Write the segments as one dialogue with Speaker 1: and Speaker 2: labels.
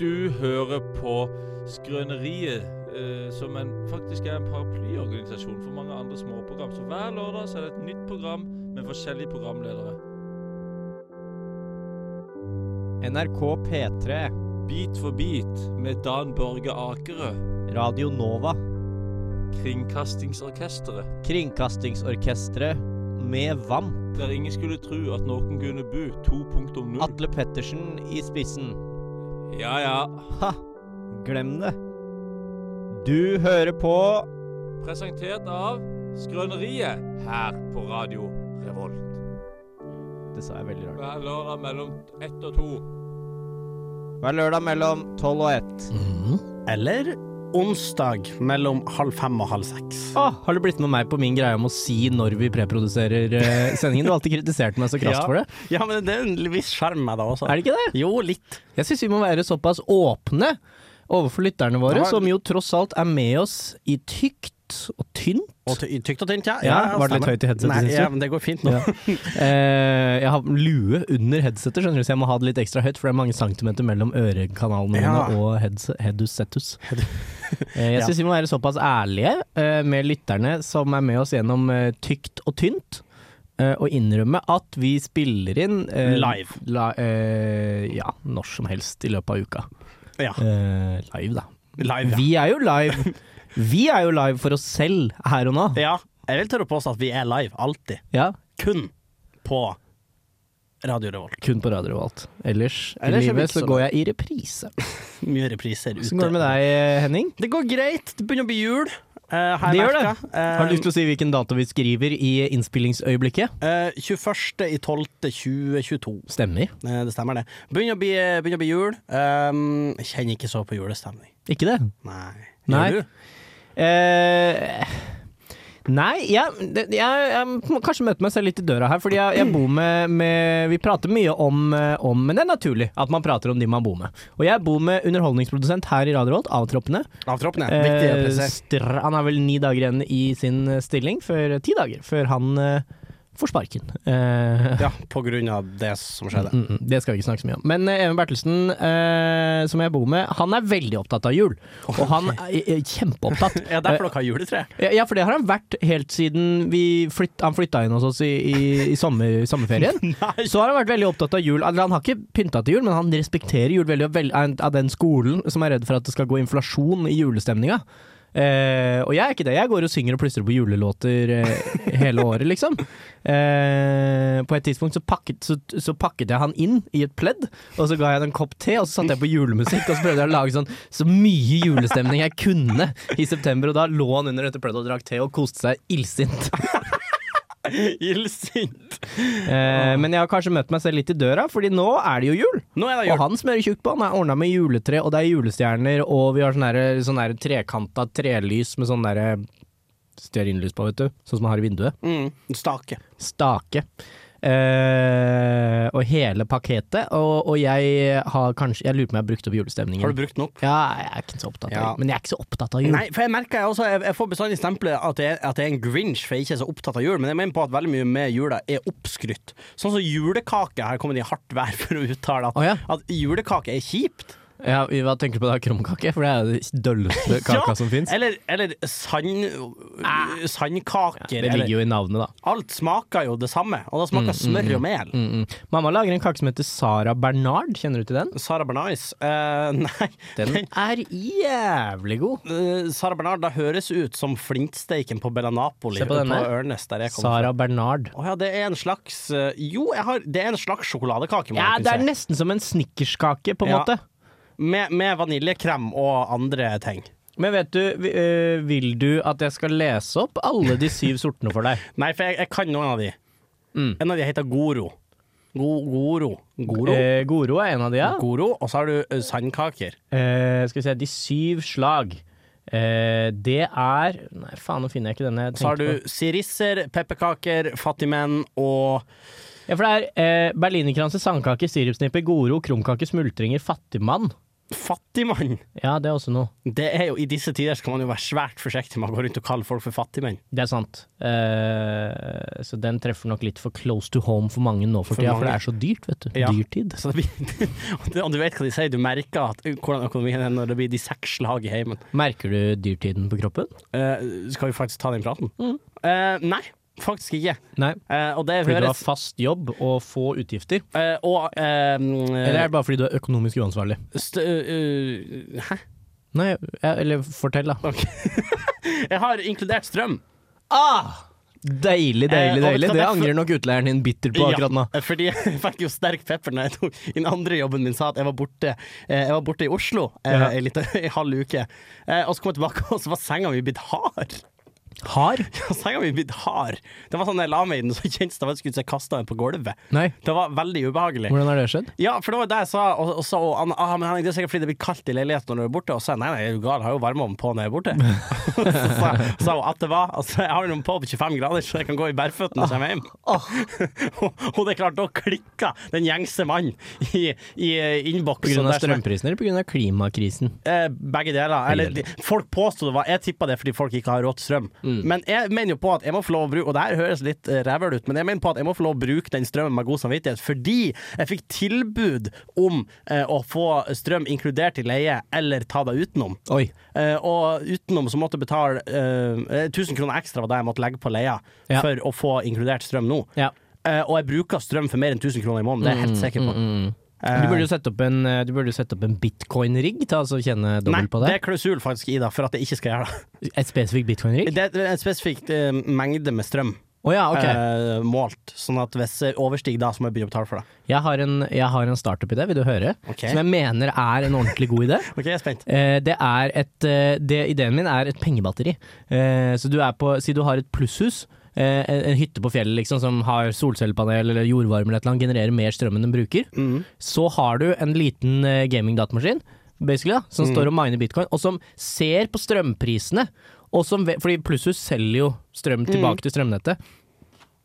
Speaker 1: Du hører på Skrøneriet, eh, som en, faktisk er en paraplyorganisasjon for mange andre småprogram. Så hver lørdag så er det et nytt program med forskjellige programledere.
Speaker 2: NRK P3,
Speaker 1: Bit for bit med Dan Børge Akerø,
Speaker 2: Radio Nova,
Speaker 1: Kringkastingsorkesteret.
Speaker 2: Kringkastingsorkestret med VAMP,
Speaker 1: Der ingen skulle tro at noen kunne bo 2.0.
Speaker 2: Atle Pettersen i spissen.
Speaker 1: Ja, ja.
Speaker 2: Ha! Glem det. Du hører på
Speaker 1: Presentert av Skrøneriet her på Radio Revolt.
Speaker 2: Det sa jeg veldig rart.
Speaker 1: Hver lørdag mellom ett og to.
Speaker 2: Hver lørdag mellom tolv og ett.
Speaker 3: Eller onsdag mellom halv fem og halv seks.
Speaker 4: Ah, har du blitt med meg på min greie om å si når vi preproduserer eh, sendingen? Du har alltid kritisert meg så krast for det.
Speaker 3: Ja, men det er en viss skjerm med det også.
Speaker 4: Er det ikke det?
Speaker 3: Jo, litt.
Speaker 4: Jeg syns vi må være såpass åpne overfor lytterne våre,
Speaker 3: Ja, men-
Speaker 4: som jo tross alt er med oss i tykt og tynt.
Speaker 3: Og ty tykt og tynt, ja.
Speaker 4: Ja, var det litt
Speaker 3: stemmer.
Speaker 4: høyt i headsetet,
Speaker 3: Nei,
Speaker 4: synes du?
Speaker 3: ja, men det går fint nå.
Speaker 4: Ja. Eh, jeg har lue under headsetet, skjønner du, så jeg må ha det litt ekstra høyt, for det er mange centimeter mellom ørekanalene mine
Speaker 3: Ja.
Speaker 4: og heads- headus settus. Eh, jeg
Speaker 3: Ja.
Speaker 4: syns vi må være såpass ærlige eh, med lytterne som er med oss gjennom eh, tykt og tynt, eh, og innrømme at vi spiller inn eh,
Speaker 3: Live.
Speaker 4: La, eh, ja, når som helst i løpet av uka.
Speaker 3: Ja.
Speaker 4: Eh, live, da.
Speaker 3: Live, ja.
Speaker 4: Vi er jo live. Vi er jo live for oss selv her og nå.
Speaker 3: ja. Jeg vil tørre å påstå at vi er live, alltid.
Speaker 4: Ja,
Speaker 3: Kun på Radio Revolt.
Speaker 4: kun på Radio Revolt. Ellers,
Speaker 3: Ellers er
Speaker 4: i
Speaker 3: vi
Speaker 4: livet
Speaker 3: ikke
Speaker 4: så
Speaker 3: så
Speaker 4: går jeg i reprise.
Speaker 3: Mye repriser ute.
Speaker 4: Hvordan går det med deg, Henning?
Speaker 3: Det går greit. Det begynner å bli jul. eh, har
Speaker 4: Det
Speaker 3: jeg
Speaker 4: gjør det.
Speaker 3: merket. Eh,
Speaker 4: Har du lyst til å si hvilken dato vi skriver i innspillingsøyeblikket?
Speaker 3: eh, 21. i 12. 2022.
Speaker 4: Stemmer.
Speaker 3: Eh, Det stemmer, det. Begynner å bli, eh, begynner å bli jul. Um, jeg kjenner ikke så på julestemning.
Speaker 4: Ikke det?
Speaker 3: Nei.
Speaker 4: Nei.
Speaker 3: Gjør du?
Speaker 4: Eh, nei, jeg, det- jeg, jeg må kanskje møte meg selv litt i døra her, fordi jeg, jeg bor med, med Vi prater mye om, eh, om Men det er naturlig at man prater om de man bor med. Og jeg bor med underholdningsprodusent her i Radio Rolt, Avtroppene.
Speaker 3: Avtroppene. Viktig å
Speaker 4: Eh,
Speaker 3: presisere.
Speaker 4: str- han er vel ni dager igjen i sin eh, stilling, før, ti dager før han eh, får sparken. Eh,
Speaker 3: Ja, på grunn av det som skjedde.
Speaker 4: Mm, mm, det skal vi ikke snakke så mye om. Men eh, Even Bertelsen, eh, som jeg bor med, han er veldig opptatt av jul. Og han er, er kjempeopptatt.
Speaker 3: Ja, derfor dere har juletre.
Speaker 4: Ja, ja, for det har han vært helt siden vi flytt, han flytta inn hos oss i, i, i sommer, sommerferien.
Speaker 3: Nei.
Speaker 4: Så har han vært veldig opptatt av jul. Eller han har ikke pynta til jul, men han respekterer jul veldig og vel, av den skolen som er redd for at det skal gå inflasjon i julestemninga. Eh, og jeg er ikke det. Jeg går og synger og plystrer på julelåter eh, hele året, liksom. Eh, på et tidspunkt så pakket, så, så pakket jeg han inn i et pledd, og så ga jeg han en kopp te, og så satte jeg på julemusikk, og så prøvde jeg å lage sånn så mye julestemning jeg kunne i september, og da lå han under dette pleddet og drakk te og koste seg illsint.
Speaker 3: Illsint.
Speaker 4: Eh, men jeg har kanskje møtt meg selv litt i døra, Fordi nå er det jo jul.
Speaker 3: Nå er det
Speaker 4: Og
Speaker 3: jul.
Speaker 4: han smører tjukt på. Han er ordna med juletre, og det er julestjerner, og vi har sånne, der- sånne der trekanta trelys med sånne der stearinlys på, vet du. Sånn som man har i vinduet.
Speaker 3: Mm, stake.
Speaker 4: Stake. Eh, og hele pakketet. Og, og jeg har kanskje Jeg lurer på om jeg har brukt opp julestemningen.
Speaker 3: Har du brukt den opp?
Speaker 4: Ja, jeg er ikke så opptatt av
Speaker 3: Ja.
Speaker 4: jul. Men jeg er ikke så opptatt av jul.
Speaker 3: Nei, for jeg merker jeg også Jeg, jeg får bestandig stempelet at jeg, at jeg er en grinch, for jeg ikke er så opptatt av jul. Men jeg mener på at veldig mye med jula er oppskrytt. Sånn som julekake. Her kommer de i hardt vær for å uttale at,
Speaker 4: Å ja.
Speaker 3: at julekake er kjipt.
Speaker 4: Ja, hva tenker du på da? Krumkake? For det er jo den dølleste kaka som fins.
Speaker 3: Eller, eller sand, sandkaker.
Speaker 4: Ah. Det ligger
Speaker 3: eller,
Speaker 4: jo i navnet, da.
Speaker 3: alt smaker jo det samme, og det smaker smør og mel.
Speaker 4: Mm -mm. Mamma lager en kake som heter Sara Bernard. Kjenner du til den?
Speaker 3: Sara Bernais eh, Nei.
Speaker 4: Den er jævlig god.
Speaker 3: Eh, Sara Bernard, det høres ut som flintsteiken på Bella Napoli
Speaker 4: Se på
Speaker 3: på,
Speaker 4: denne.
Speaker 3: Ørnes, der jeg kommer fra.
Speaker 4: Sara Bernard.
Speaker 3: Å ja, det er en slags eh, Jo, jeg har, det er en slags sjokoladekake, må
Speaker 4: Ja,
Speaker 3: man
Speaker 4: det er
Speaker 3: kunne si.
Speaker 4: nesten som en snickerskake, på en
Speaker 3: Ja.
Speaker 4: måte.
Speaker 3: Med, med vaniljekrem og andre ting.
Speaker 4: Men vet du, vi- øh, vil du at jeg skal lese opp alle de syv sortene for deg?
Speaker 3: Nei, for jeg, jeg kan noen av de.
Speaker 4: Mm.
Speaker 3: En av de heter Goro. Go, goro. Goro.
Speaker 4: Eh, Goro er en av de, ja.
Speaker 3: Goro. Og så har du eh, sandkaker.
Speaker 4: Eh, skal vi se, de syv slag. Eh, det er Nei, faen, nå finner jeg ikke denne. Jeg
Speaker 3: Så har
Speaker 4: tenkte på.
Speaker 3: du sirisser, pepperkaker, fattigmenn og
Speaker 4: Ja, for det er eh, berlinerkranse, sandkake, sirupsnipper, Goro, krumkake, smultringer, fattigmann.
Speaker 3: Fattigmann.
Speaker 4: Ja, det er også noe.
Speaker 3: Det er jo, I disse tider skal man jo være svært forsiktig med å gå rundt og kalle folk for fattigmenn.
Speaker 4: Det er sant. Eh, så den treffer nok litt for close to home for mange nå for,
Speaker 3: For
Speaker 4: tida, for
Speaker 3: mange.
Speaker 4: det er så dyrt, vet du.
Speaker 3: Ja.
Speaker 4: Dyrtid.
Speaker 3: Så det blir, og det- og du vet hva de sier, du merker at, uh, hvordan økonomien er når det blir de seks slag i heimen.
Speaker 4: Merker du dyrtiden på kroppen?
Speaker 3: Eh, skal vi faktisk ta den praten?
Speaker 4: Mhm.
Speaker 3: Eh, nei, faktisk ikke.
Speaker 4: Nei.
Speaker 3: Eh, og det
Speaker 4: Fordi du har
Speaker 3: høres
Speaker 4: fast jobb og få utgifter?
Speaker 3: eh, Og uh, eh,
Speaker 4: Eller er det bare fordi du er økonomisk uansvarlig?
Speaker 3: stø, eh, Hæ?
Speaker 4: Nei, ja, eller fortell, da.
Speaker 3: Jeg har inkludert strøm.
Speaker 4: Ah! Deilig,
Speaker 3: Eh,
Speaker 4: deilig,
Speaker 3: og vet du
Speaker 4: deilig.
Speaker 3: hva,
Speaker 4: Det
Speaker 3: derfor-
Speaker 4: angrer nok utleieren din bitter på akkurat nå.
Speaker 3: Ja, fordi jeg fikk jo sterk pepper når jeg tok i den andre jobben min sa at jeg var borte, eh, jeg var borte i Oslo eh,
Speaker 4: Ja.
Speaker 3: en liten en halv uke. Eh, og så kom jeg tilbake, og så var senga mi blitt hard.
Speaker 4: Har?
Speaker 3: Ja, senga mi blitt hard. Det var sånn da jeg la meg i den, så kjentes det ut som jeg kasta den på gulvet.
Speaker 4: Nei.
Speaker 3: Det var veldig ubehagelig.
Speaker 4: Hvordan har det skjedd?
Speaker 3: Ja, for det var det jeg sa, og, og sa og Anna, ah, men Henning, det er sikkert fordi det blir kaldt i leiligheten når du er borte. Og så sa jeg nei, nei, er du gal, jeg har jo varmeovn på når jeg er borte. så sa, sa hun at det var altså, Jeg har den på på 25 grader, så jeg kan gå i bærføttene når jeg kommer hjem.
Speaker 4: Ah,
Speaker 3: og, og det er klart, da klikka den gjengse mannen i, i eh,
Speaker 4: På
Speaker 3: innboksen.
Speaker 4: grunn av
Speaker 3: der som jeg-
Speaker 4: strømprisen eller på grunn av klimakrisen?
Speaker 3: Eh, begge deler. Eller,
Speaker 4: deler. Mm.
Speaker 3: de- folk påstod det var Jeg tippa det fordi folk ikke har råd til strøm. Men jeg mener jo på at jeg må få lov å bruke Og det her høres litt eh, rævøl ut, men jeg mener på at jeg må få lov å bruke den strømmen med god samvittighet, fordi jeg fikk tilbud om eh, å få strøm inkludert i leie, eller ta det utenom.
Speaker 4: Oi.
Speaker 3: Eh, og utenom så måtte jeg betale eh, 1000 kroner ekstra var det jeg måtte legge på leia
Speaker 4: Ja.
Speaker 3: for å få inkludert strøm nå.
Speaker 4: Ja.
Speaker 3: Eh, og jeg bruker strøm for mer enn 1000 kroner i måneden, det er jeg
Speaker 4: Mm,
Speaker 3: helt sikker på. Eh,
Speaker 4: Du burde jo sette opp en, eh, du burde jo sette opp en bitcoin-rigg, ta altså kjenne
Speaker 3: Nei,
Speaker 4: dobbelt på
Speaker 3: det
Speaker 4: det.
Speaker 3: er klausul faktisk i det, for at jeg ikke skal gjøre det.
Speaker 4: Et spesifikt bitcoin-rigg?
Speaker 3: Det er en spesifikk eh, mengde med strøm
Speaker 4: Å ja, ok.
Speaker 3: eh, målt, sånn at hvis jeg overstiger da, så må jeg begynne å betale for det.
Speaker 4: Jeg har en, jeg har en startup-idé, vil du høre?
Speaker 3: Ok.
Speaker 4: Som jeg mener er en ordentlig god idé.
Speaker 3: Ok, jeg er spent.
Speaker 4: Eh, Det er et eh, det, Ideen min er et pengebatteri. Eh, Så du er på Si du har et plusshus. eh, En en hytte på fjellet liksom, som har solcellepanel eller jordvarme eller et eller annet, genererer mer strøm enn den bruker. Så har du en liten eh, gaming-datamaskin basically, da, som står og miner bitcoin, og som ser på strømprisene. Og som, ve- fordi plusshus selger jo strøm tilbake til strømnettet.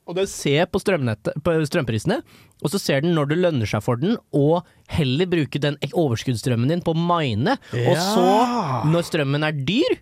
Speaker 4: Og den ser på, strømnettet, på strømprisene, og så ser den når det lønner seg for den, og heller bruke den ek- overskuddsstrømmen din på å mine. Og
Speaker 3: Ja.
Speaker 4: så, når strømmen er dyr,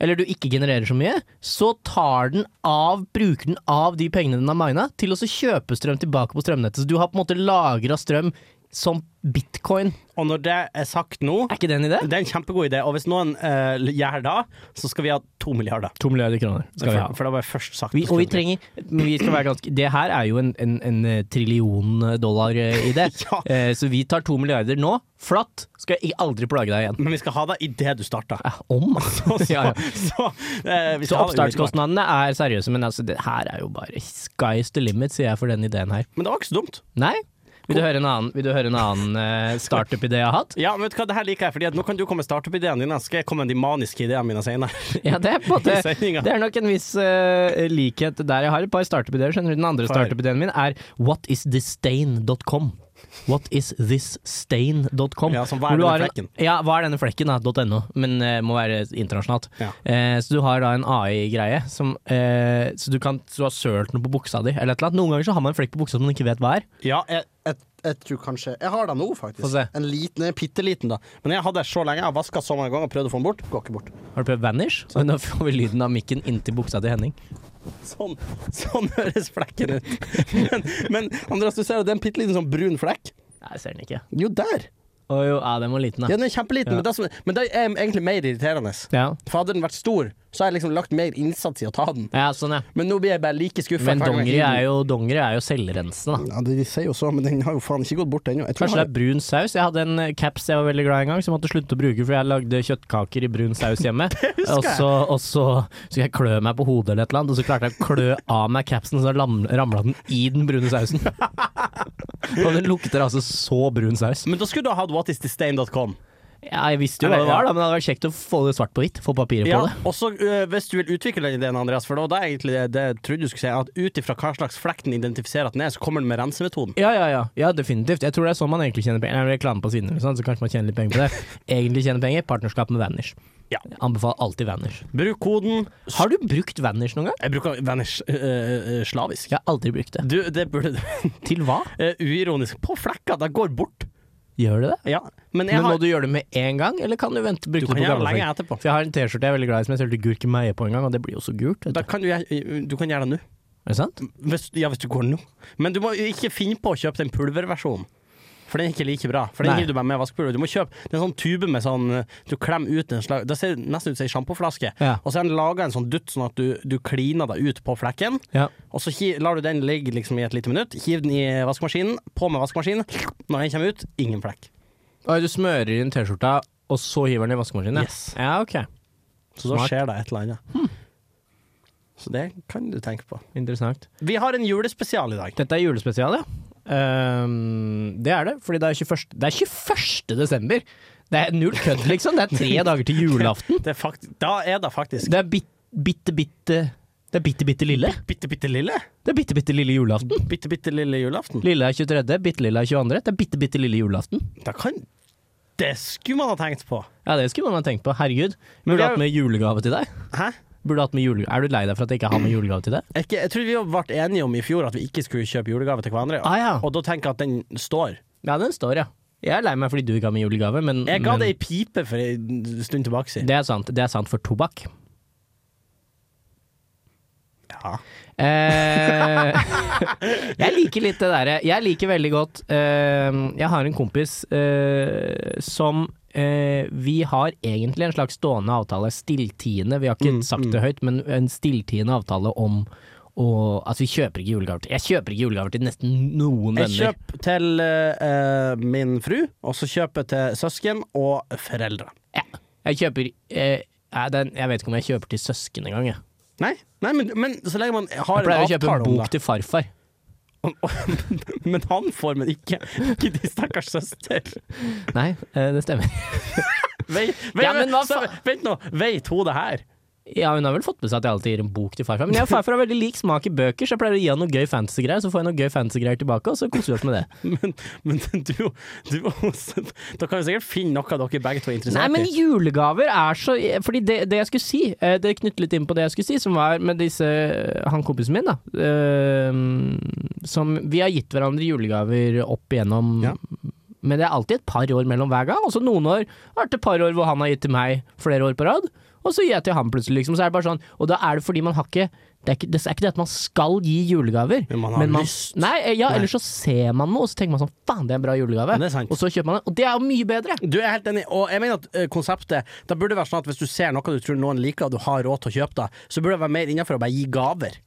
Speaker 4: eller du ikke genererer så mye, så tar den av, bruker den av de pengene den har mina, til å så kjøpe strøm tilbake på strømnettet. Så du har på en måte lagra strøm som bitcoin.
Speaker 3: Og når det er sagt nå,
Speaker 4: Er ikke det en idé?
Speaker 3: det er en kjempegod idé, og hvis noen eh, gjør det, så skal vi ha to milliarder.
Speaker 4: To milliarder kroner skal vi ha.
Speaker 3: For, for det var jeg først sagt.
Speaker 4: Vi, og vi trenger men vi skal være ganske, Det her er jo en, en, en eh, trillion dollar eh, i det.
Speaker 3: Ja.
Speaker 4: eh, så vi tar to milliarder nå, flatt. Skal jeg aldri plage deg igjen.
Speaker 3: Men vi skal ha det idet du starter.
Speaker 4: Eh, Om, altså.
Speaker 3: Så,
Speaker 4: Ja, ja.
Speaker 3: så, eh, vi
Speaker 4: Så
Speaker 3: skal ha det umiddelbart.
Speaker 4: oppstartskostnadene er seriøse, men altså, det her er jo bare sky's the limit, sier jeg for den ideen her.
Speaker 3: Men det var ikke så dumt.
Speaker 4: Nei? Vil du høre en annen, vil du høre en annen eh, startup-idé jeg har hatt?
Speaker 3: Ja, men vet du hva, det her liker jeg, Fordi at nå kan du komme med startup-ideene dine, så skal jeg komme med de maniske ideene mine senere.
Speaker 4: Ja, det er på en måte
Speaker 3: I sendinga.
Speaker 4: Det er nok en viss eh, likhet der. Jeg har et par startup-ideer. skjønner du. Den andre
Speaker 3: Far.
Speaker 4: startup-ideen min er whatisthisstain.com. Whatisthisstain.com.
Speaker 3: Ja, som hva
Speaker 4: Hvor
Speaker 3: er
Speaker 4: du
Speaker 3: denne
Speaker 4: har en-
Speaker 3: flekken?
Speaker 4: Ja, hva er denne flekken, da? .no, men eh, må være internasjonalt.
Speaker 3: Ja.
Speaker 4: Eh, så du har da en AI-greie som eh, Så du kan Så du har sølt noe på buksa di, eller et eller annet. Noen ganger så har man en flekk på buksa som man ikke vet hva er.
Speaker 3: Ja, jeg, jeg, jeg tror kanskje Jeg har den nå, faktisk.
Speaker 4: Få se.
Speaker 3: En liten, en bitte liten, da. Men jeg hadde den så lenge. Jeg har vaska så mange ganger og prøvd å få den bort. Går ikke bort.
Speaker 4: Har du prøvd Vanish? Men da får vi lyden av mikken inntil buksa til Henning.
Speaker 3: Sånn, sånn høres flekken ut. Men, men Andreas, du ser jo det er en bitte liten sånn brun flekk.
Speaker 4: Nei, jeg ser den ikke.
Speaker 3: Jo, der!
Speaker 4: Å jo, ja, den var liten,
Speaker 3: Ja,
Speaker 4: da.
Speaker 3: den er kjempeliten,
Speaker 4: Ja.
Speaker 3: men, det som, men det er egentlig mer irriterende.
Speaker 4: Ja,
Speaker 3: For hadde den vært stor, så har jeg liksom lagt mer innsats i å ta den.
Speaker 4: ja sånn, ja.
Speaker 3: Men nå blir jeg bare like skuffa.
Speaker 4: Men dongeri er jo, dongeri er jo selvrensende, da.
Speaker 3: Ja, det de sier jo så, men den har jo faen ikke gått bort ennå. Jeg tror
Speaker 4: Kanskje det
Speaker 3: jeg
Speaker 4: er brun saus? Jeg hadde en eh, caps jeg var veldig glad i en gang, som jeg måtte slutte å bruke fordi jeg lagde kjøttkaker i brun saus hjemme. og så, og så skulle jeg klø meg på hodet eller et eller annet, og så klarte jeg å klø av meg capsen, og så ramla den i den brune sausen. og den lukter altså så brun saus.
Speaker 3: har- Men da skulle du ha hatt whatisthisstain.com.
Speaker 4: Ja, jeg visste jo hva det var, da, men det hadde vært kjekt å få det svart på hvitt. Få papiret
Speaker 3: Ja,
Speaker 4: på det.
Speaker 3: og så ø, hvis du vil utvikle den ideen, Andreas, for det var det egentlig det, det jeg trodde du skulle si, at ut ifra hva slags flekk den identifiserer at den er, så kommer den med rensemetoden.
Speaker 4: Ja, ja, ja. ja, definitivt. Jeg tror det er sånn man egentlig tjener penger. Nei, reklame på siden, eller sånn, så kanskje man tjener litt penger på det. Egentlig tjener penger, partnerskap med Vanish.
Speaker 3: Ja.
Speaker 4: Jeg Anbefaler alltid Vanish.
Speaker 3: Bruk koden
Speaker 4: Har du brukt Vanish noen gang?
Speaker 3: Jeg bruker Vanish ø, ø, ø, eh, slavisk.
Speaker 4: Jeg har aldri brukt det.
Speaker 3: Du, Eh, det burde du
Speaker 4: Til hva?
Speaker 3: Ø, Uironisk. På flekka, det går bort.
Speaker 4: Gjør det det?
Speaker 3: Ja. Men jeg
Speaker 4: Men må
Speaker 3: har
Speaker 4: du gjøre det med en gang, eller kan du vente bruke det
Speaker 3: Du kan
Speaker 4: på
Speaker 3: gjøre det
Speaker 4: gamle
Speaker 3: lenge
Speaker 4: folk?
Speaker 3: etterpå.
Speaker 4: For jeg har en T-skjorte jeg er veldig glad i som jeg sølte gurkemeie på en gang, og det blir jo så gult. Vet du.
Speaker 3: Da kan du, gjøre- du kan gjøre det nå.
Speaker 4: Er det sant?
Speaker 3: Hvis, ja, hvis du går nå. Men du må jo ikke finne på å kjøpe den pulverversjonen. For den er ikke like bra. For den
Speaker 4: Nei.
Speaker 3: hiver du bare med vaskepulver. Du må kjøpe det er en sånn tube med sånn eh, Du klemmer ut en slag Det ser nesten ut som ei sjampoflaske.
Speaker 4: Ja.
Speaker 3: Og så har den laga en sånn dutt, sånn at du, du kliner deg ut på flekken.
Speaker 4: Ja.
Speaker 3: Og så hi- lar du den ligge liksom i et lite minutt. Hiv den i vaskemaskinen. På med vaskemaskinen. Når den kommer ut, ingen flekk.
Speaker 4: Oi, du smører inn T-skjorta, og så hiver den i vaskemaskinen? ja?
Speaker 3: Yes.
Speaker 4: Ja, ok.
Speaker 3: Så
Speaker 4: Smart.
Speaker 3: da
Speaker 4: Hm.
Speaker 3: skjer det et eller annet. Så det kan du tenke på.
Speaker 4: Interessant.
Speaker 3: Vi har en julespesial i dag.
Speaker 4: Dette er julespesial, ja. Ehm, det er det, fordi det er 21. Det er 21. desember! Det er null kødd, liksom. Det er tre dager til julaften.
Speaker 3: Det er fakt da er det faktisk
Speaker 4: Det er bit, bitte, bitte Det er bitte, bitte lille.
Speaker 3: bitte, bitte lille.
Speaker 4: Det er bitte, bitte lille julaften.
Speaker 3: Bitte, bitte lille julaften.
Speaker 4: Lille er 23., bitte lille er 22. Det er bitte, bitte lille julaften.
Speaker 3: Da kan Det skulle man ha tenkt på.
Speaker 4: Ja, det skulle man ha tenkt på. Herregud.
Speaker 3: Men
Speaker 4: Burde
Speaker 3: det er
Speaker 4: hatt med julegave til deg.
Speaker 3: Hæ?
Speaker 4: Burde hatt med jule... Er du lei deg for at jeg ikke har med julegave til deg?
Speaker 3: Jeg, ikke, jeg tror vi ble enige om i fjor at vi ikke skulle kjøpe julegave til hverandre.
Speaker 4: Ah, ja.
Speaker 3: Og da tenker jeg at den står.
Speaker 4: ja, den står, ja. Jeg er lei meg fordi du ikke har med julegave, men
Speaker 3: Jeg ga
Speaker 4: men-
Speaker 3: det ei pipe for en stund tilbake siden.
Speaker 4: Det er sant. Det er sant for tobakk.
Speaker 3: Ja.
Speaker 4: Eh, jeg liker litt det derre Jeg liker veldig godt eh, Jeg har en kompis eh, som eh, Vi har egentlig en slags stående avtale, stilltiende, vi har ikke
Speaker 3: Mm,
Speaker 4: sagt det høyt, men en stilltiende avtale om å Altså, vi kjøper ikke julegaver til Jeg kjøper ikke julegaver til nesten noen
Speaker 3: Jeg
Speaker 4: venner.
Speaker 3: kjøper til eh, eh, min fru, og så kjøper jeg til søsken og foreldre.
Speaker 4: Jeg, jeg kjøper eh, nei, den, Jeg vet ikke om jeg kjøper til søsken engang, jeg.
Speaker 3: Nei, nei men, men så lenge man
Speaker 4: Jeg
Speaker 3: har
Speaker 4: pleier
Speaker 3: en
Speaker 4: å kjøpe
Speaker 3: avtale
Speaker 4: en
Speaker 3: om
Speaker 4: bok
Speaker 3: det.
Speaker 4: til farfar.
Speaker 3: Men han får, men ikke, ikke de stakkars søster.
Speaker 4: Nei, eh, det stemmer.
Speaker 3: Veit, veit,
Speaker 4: Ja, men hva
Speaker 3: så- vent nå, vet hun det her?
Speaker 4: Ja, hun har vel fått med seg at jeg alltid gir en bok til farfar. Men jeg og farfar har veldig lik smak i bøker, så jeg pleier å gi han noe gøy fantasy-greier. Så får jeg noe gøy fantasy-greier tilbake, og så koser vi oss med det.
Speaker 3: Men, men du, du Da kan vi sikkert finne noe dere begge to er
Speaker 4: Nei,
Speaker 3: interessert
Speaker 4: men
Speaker 3: i.
Speaker 4: julegaver er så Fordi det, det jeg skulle si, eh, det knytter litt inn på det jeg skulle si, som var med disse Han kompisen min, da. eh, Som Vi har gitt hverandre julegaver opp igjennom
Speaker 3: Ja.
Speaker 4: Men det er alltid et par år mellom hver gang. Altså Noen år har vært et par år hvor han har gitt til meg flere år på rad, og så gir jeg til han plutselig, liksom. Så er det bare sånn. Og da er det fordi man har ikke Det er ikke det, er ikke det at man skal gi julegaver.
Speaker 3: Men man har lyst.
Speaker 4: Nei, eh, ja,
Speaker 3: Nei.
Speaker 4: ellers så ser man noe, og så tenker man sånn faen, det er en bra julegave.
Speaker 3: Ja, det er sant.
Speaker 4: Og så kjøper man det. Og det er jo mye bedre.
Speaker 3: Du er helt enig, og jeg mener at eh, konseptet Da burde det være sånn at hvis du ser noe du tror noen liker, og du har råd til å kjøpe det, så burde det være mer innenfor å bare gi gaver.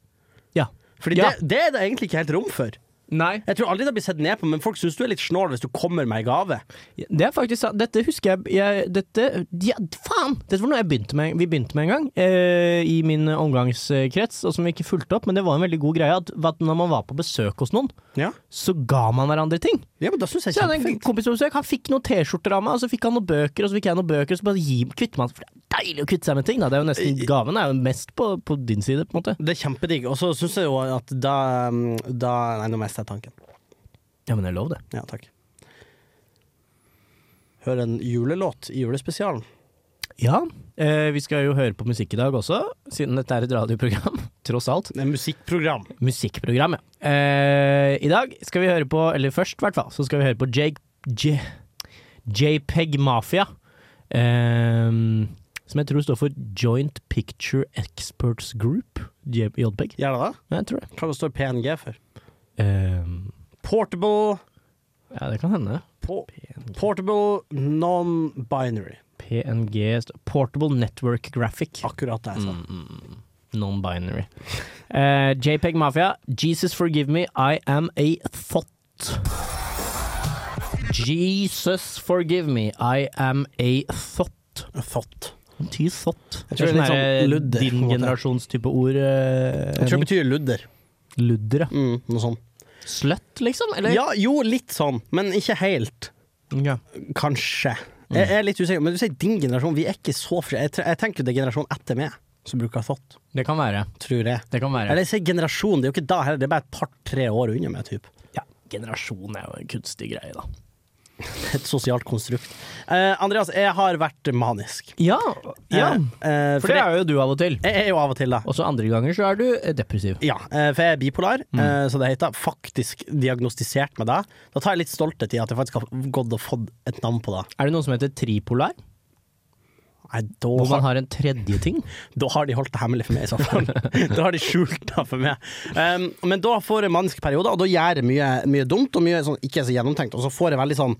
Speaker 4: Ja.
Speaker 3: Fordi
Speaker 4: Ja.
Speaker 3: det, det er det egentlig ikke helt rom for.
Speaker 4: Nei.
Speaker 3: Jeg tror aldri det blir sett ned på, men folk syns du er litt snål hvis du kommer med ei gave.
Speaker 4: Det er faktisk sant. Dette husker jeg, jeg Dette ja, Faen! Dette var noe jeg begynte med, vi begynte med en gang, eh, i min omgangskrets, og som vi ikke fulgte opp. Men det var en veldig god greie at, at når man var på besøk hos noen,
Speaker 3: Ja,
Speaker 4: så ga man hverandre ting.
Speaker 3: ja men da syns jeg
Speaker 4: Så jeg hadde en
Speaker 3: kjempefint.
Speaker 4: kompis på besøk, han fikk noen T-skjorter av meg, og så fikk han noen bøker, og så fikk jeg noen bøker, og så bare gi, kvitter man For det er deilig å kvitte seg med ting, da. Det er jo nesten, gaven er jo mest på, på din side, på en måte.
Speaker 3: Det er kjempedigg. Og så syns jeg jo at da, mm, da Nei, nå mister jeg tanken.
Speaker 4: Ja, men det er lov, det.
Speaker 3: Ja, takk. Hør en julelåt i julespesialen.
Speaker 4: Ja. Eh, vi skal jo høre på musikk i dag også, siden dette er et radioprogram, tross alt.
Speaker 3: Det er musikkprogram.
Speaker 4: musikkprogrammet. Eh, I dag skal vi høre på, eller først i hvert fall, så skal vi høre på Jake, J, JPEG Mafia. eh, som jeg tror står for Joint Picture Experts Group. J- JPEG.
Speaker 3: Gjør det det?
Speaker 4: Ja, jeg tror det.
Speaker 3: Hva det står PNG for?
Speaker 4: Eh,
Speaker 3: Portable
Speaker 4: ja, det kan hende.
Speaker 3: po Portable non-binary.
Speaker 4: PNG st- Portable Network Graphic.
Speaker 3: Akkurat det jeg sa. mm.
Speaker 4: Non-binary. Altså. Eh, JPEG Mafia. Jesus forgive me, I am a thought. Jesus forgive me, I am a thought.
Speaker 3: Mm. Thought.
Speaker 4: Ty thought. eh,
Speaker 3: Jeg tror det er litt sånn ludder, på
Speaker 4: Din
Speaker 3: en måte.
Speaker 4: generasjons type ord. eh,
Speaker 3: Jeg tror det
Speaker 4: Henning.
Speaker 3: betyr ludder.
Speaker 4: Ludder, ja.
Speaker 3: Mm, noe sånt.
Speaker 4: Sløtt, liksom? Eller?
Speaker 3: Ja, jo, litt sånn, men ikke helt.
Speaker 4: Ja.
Speaker 3: Kanskje. Jeg jeg er litt usikker, men du sier din generasjon. Vi er ikke så fri. Jeg, tre- jeg tenker det er generasjonen etter meg som bruker thought,
Speaker 4: Det kan være.
Speaker 3: tror jeg.
Speaker 4: Det kan være.
Speaker 3: Eller jeg sier generasjon, det er jo ikke da heller, det er bare et par-tre år unna meg, typ.
Speaker 4: Ja, generasjon er jo en kunstig greie, da.
Speaker 3: Et sosialt konstrukt. Eh, Andreas, jeg har vært manisk.
Speaker 4: Ja, ja.
Speaker 3: Eh, eh,
Speaker 4: for det er jo du av og til.
Speaker 3: jeg, jeg er jo av og til, da.
Speaker 4: Og så andre ganger så er du eh, depressiv.
Speaker 3: Ja, eh, for jeg er bipolar, eh, så det heter faktisk diagnostisert med det. Da tar jeg litt stolthet i at jeg faktisk har gått og fått et navn på det.
Speaker 4: Er det noen som heter tripolar?
Speaker 3: Nei, da
Speaker 4: Hvor man
Speaker 3: har,
Speaker 4: har en tredje ting?
Speaker 3: da har de holdt det hemmelig for meg, i så fall. da har de skjult det for meg. Um, men da får jeg maniske perioder, og da gjør jeg mye, mye dumt og mye sånn ikke så gjennomtenkt. Og så får jeg veldig sånn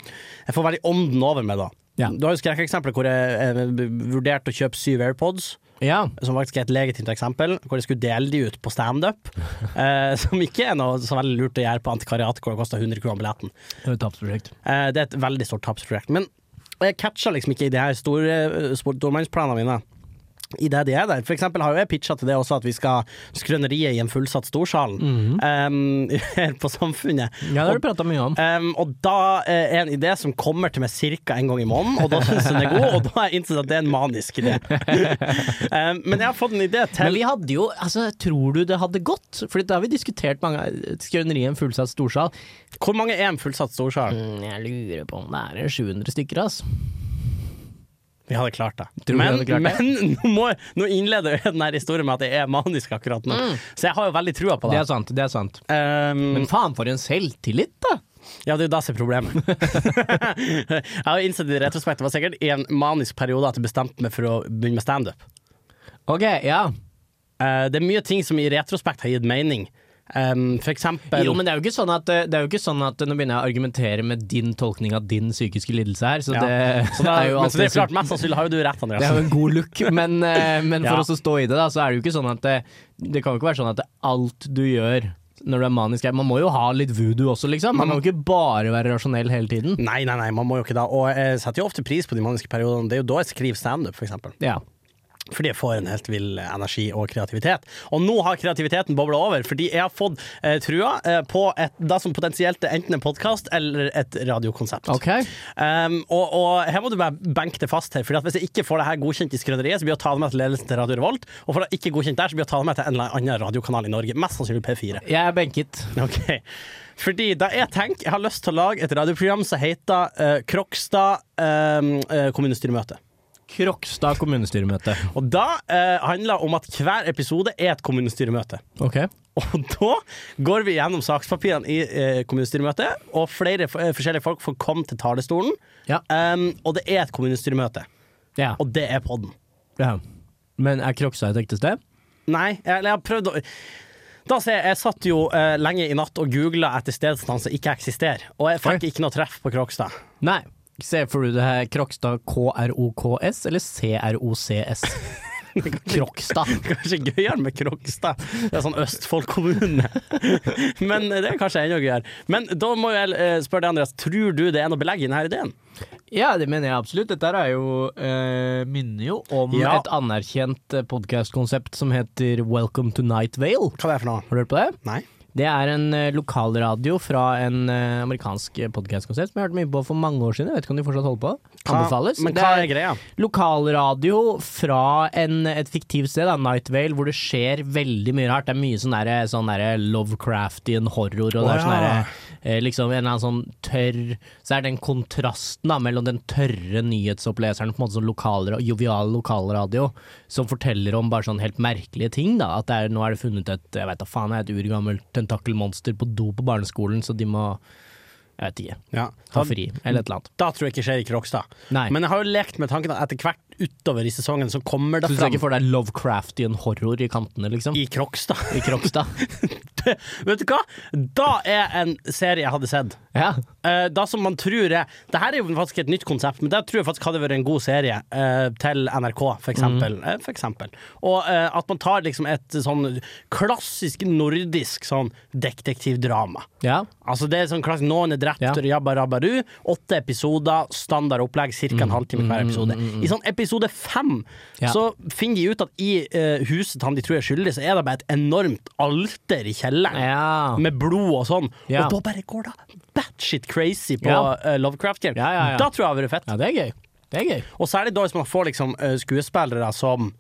Speaker 3: Jeg får veldig ånden over meg da.
Speaker 4: Ja.
Speaker 3: Du har jo skrekkeksempler hvor jeg eh, vurderte å kjøpe syv AirPods.
Speaker 4: Ja.
Speaker 3: som faktisk er et legitimt eksempel, hvor de skulle dele de ut på standup. Eh, som ikke er noe så veldig lurt å gjøre på antikariat, hvor det koster 100 kroner billetten.
Speaker 4: Det er et tapsprosjekt.
Speaker 3: Eh, det er et veldig stort tapsprosjekt. Men jeg catcher liksom ikke i de her store eh, spor- stormannsplanene mine. I det de er der. For eksempel har jo jeg pitcha til det også, at vi skal skrøneriet i en fullsatt storsalen eh, her på Samfunnet.
Speaker 4: Ja, det har du prata mye om.
Speaker 3: Um, og da eh, er en idé som kommer til meg ca. en gang i måneden, og da syns jeg den er god, og da har jeg innsett at det er en manisk idé. um, men jeg har fått en idé til.
Speaker 4: Men vi hadde jo Altså, tror du det hadde gått? For det har vi diskutert mange Skrøneriet en fullsatt storsal.
Speaker 3: Hvor mange er en fullsatt storsal?
Speaker 4: Mm, Jeg lurer på om det er en 700 stykker, ass.
Speaker 3: Vi hadde klart det.
Speaker 4: Tror vi
Speaker 3: men
Speaker 4: hadde klart det?
Speaker 3: men nå, må, jeg- nå innleder jeg denne historien med at jeg er manisk akkurat nå, så jeg har jo veldig trua på
Speaker 4: Mm. Det
Speaker 3: det.
Speaker 4: er sant. det er sant
Speaker 3: Um,
Speaker 4: Men faen, for en selvtillit, da!
Speaker 3: ja, det er jo det som er problemet. jeg har innsett i retrospekt, det var sikkert i en manisk periode at jeg bestemte meg for å begynne med standup.
Speaker 4: Ok, ja.
Speaker 3: Uh, det er mye ting som i retrospekt har gitt mening. Um, for eksempel
Speaker 4: Jo, men det er jo ikke sånn at, eh, det er jo ikke sånn at eh, nå begynner jeg å argumentere med din tolkning av din psykiske lidelse her, så
Speaker 3: Ja.
Speaker 4: det,
Speaker 3: Så det er,
Speaker 4: jo
Speaker 3: men så det er
Speaker 4: alltid-
Speaker 3: klart, mest sannsynlig har jo du rett, Andreas.
Speaker 4: Det er jo en god look, men, eh, men for
Speaker 3: Ja.
Speaker 4: oss å stå i det, da, så er det jo ikke sånn at det, det kan jo ikke være sånn at det, alt du gjør når du er manisk Man må jo ha litt voodoo også, liksom. Man må jo ikke bare være rasjonell hele tiden.
Speaker 3: Nei, nei, nei, man må jo ikke det. Og jeg setter jo ofte pris på de maniske periodene. Det er jo da jeg skriver standup, for eksempel.
Speaker 4: Ja.
Speaker 3: Fordi jeg får en helt vill energi og kreativitet. Og nå har kreativiteten bobla over, fordi jeg har fått eh, trua eh, på et, det som potensielt er enten en podkast eller et radiokonsept.
Speaker 4: Ok.
Speaker 3: Um, og, og her må du bare benke det fast her, Fordi at hvis jeg ikke får det her godkjent i skrøneriet, så blir jeg å ta det med til ledelsen til Radio Revolt. Og får det ikke godkjent der, så blir jeg å ta det med til en eller annen radiokanal i Norge. Mest sannsynlig P4.
Speaker 4: Jeg er benket.
Speaker 3: Ok Fordi da jeg tenker Jeg har lyst til å lage et radioprogram Som heter eh, Krokstad eh, eh, kommunestyremøte
Speaker 4: Krokstad kommunestyremøte.
Speaker 3: Og da eh, handler det om at hver episode Er et kommunestyremøte
Speaker 4: Ok.
Speaker 3: og da går vi gjennom sakspapirene i eh, kommunestyremøtet, og flere f- eh, forskjellige folk får komme til talestolen.
Speaker 4: Ja.
Speaker 3: Em, og det er et kommunestyremøte,
Speaker 4: ja.
Speaker 3: og det er podden.
Speaker 4: ja. Men er Krokstad et ekte sted?
Speaker 3: Nei, jeg, jeg har prøvd å da ser jeg, jeg satt jo eh, lenge i natt og googla etter stedsnavn som ikke eksisterer, og jeg fikk
Speaker 4: Oi.
Speaker 3: ikke noe treff på Krokstad.
Speaker 4: Nei. Ser for du det her Krokstad KROKS eller CROCS? Krokstad.
Speaker 3: Kanskje gøyere med Krokstad. Det er sånn Østfold kommune. Men det er kanskje enda gøyere. Men da må jeg eh, spørre deg, Andreas. Tror du det er noe belegg i denne ideen?
Speaker 4: Ja, det mener jeg absolutt. Dette her er jo, eh, minner jo om
Speaker 3: Ja.
Speaker 4: et anerkjent podkastkonsept som heter Welcome to Night Vale.
Speaker 3: Hva er det for noe?
Speaker 4: Har du hørt på det?
Speaker 3: Nei.
Speaker 4: Det er en eh, lokalradio fra en eh, amerikansk podkastkonsept som jeg hørte mye på for mange år siden. Jeg vet ikke om de fortsatt holder på. Anbefales.
Speaker 3: Men
Speaker 4: Det
Speaker 3: hva er greia?
Speaker 4: lokalradio fra en, et fiktivt sted, da, Night Vale, hvor det skjer veldig mye rart. Det er mye sånn derre sånn der Lovecraftian horror, og det
Speaker 3: Å,
Speaker 4: er sånn
Speaker 3: ja.
Speaker 4: derre eh, liksom en eller annen sånn tørr Så er den kontrasten da mellom den tørre nyhetsoppleseren, på en måte sånn lokalra- jovial lokalradio, som forteller om bare sånn helt merkelige ting, da. At det er, nå er det funnet et jeg vet da faen, jeg, et urgammelt tentakelmonster på do på barneskolen, så de må jeg vet ikke.
Speaker 3: Ja.
Speaker 4: Ha
Speaker 3: Da,
Speaker 4: fri, eller et eller annet.
Speaker 3: da tror jeg ikke skjer i Krokstad.
Speaker 4: Nei.
Speaker 3: Men jeg har jo lekt med tanken at etter hvert utover i sesongen så kommer det
Speaker 4: Så du ser
Speaker 3: fram
Speaker 4: ikke for deg Lovecraftian horror i kantene, liksom?
Speaker 3: i Krokstad.
Speaker 4: I Krokstad.
Speaker 3: Vet du hva? Da er en serie jeg hadde sett.
Speaker 4: Ja.
Speaker 3: Eh, da som man tror er Det her er jo faktisk et nytt konsept, men det tror jeg faktisk hadde vært en god serie eh, til NRK, for eksempel.
Speaker 4: Mm.
Speaker 3: Eh, for eksempel. Og eh, at man tar liksom et sånn klassisk nordisk sånn detektivdrama.
Speaker 4: ja.
Speaker 3: Altså det er sånn klassisk Noen er drept,
Speaker 4: Ja.
Speaker 3: jabba rabbaru. Åtte episoder, standard opplegg, ca.
Speaker 4: Mm,
Speaker 3: en halvtime hver episode. I sånn episode fem
Speaker 4: Ja.
Speaker 3: så finner de ut at i eh, huset han de tror er skyldig, så er det bare et enormt alter i kjelleren
Speaker 4: Ja.
Speaker 3: med blod og sånn.
Speaker 4: Ja.
Speaker 3: Og da bare går det batshit crazy på
Speaker 4: Ja.
Speaker 3: eh, Lovecraft Game.
Speaker 4: Ja, ja, ja.
Speaker 3: Da tror jeg det hadde vært fett.
Speaker 4: ja, det er gøy. Det er gøy.
Speaker 3: Og særlig da hvis man får liksom eh, skuespillere som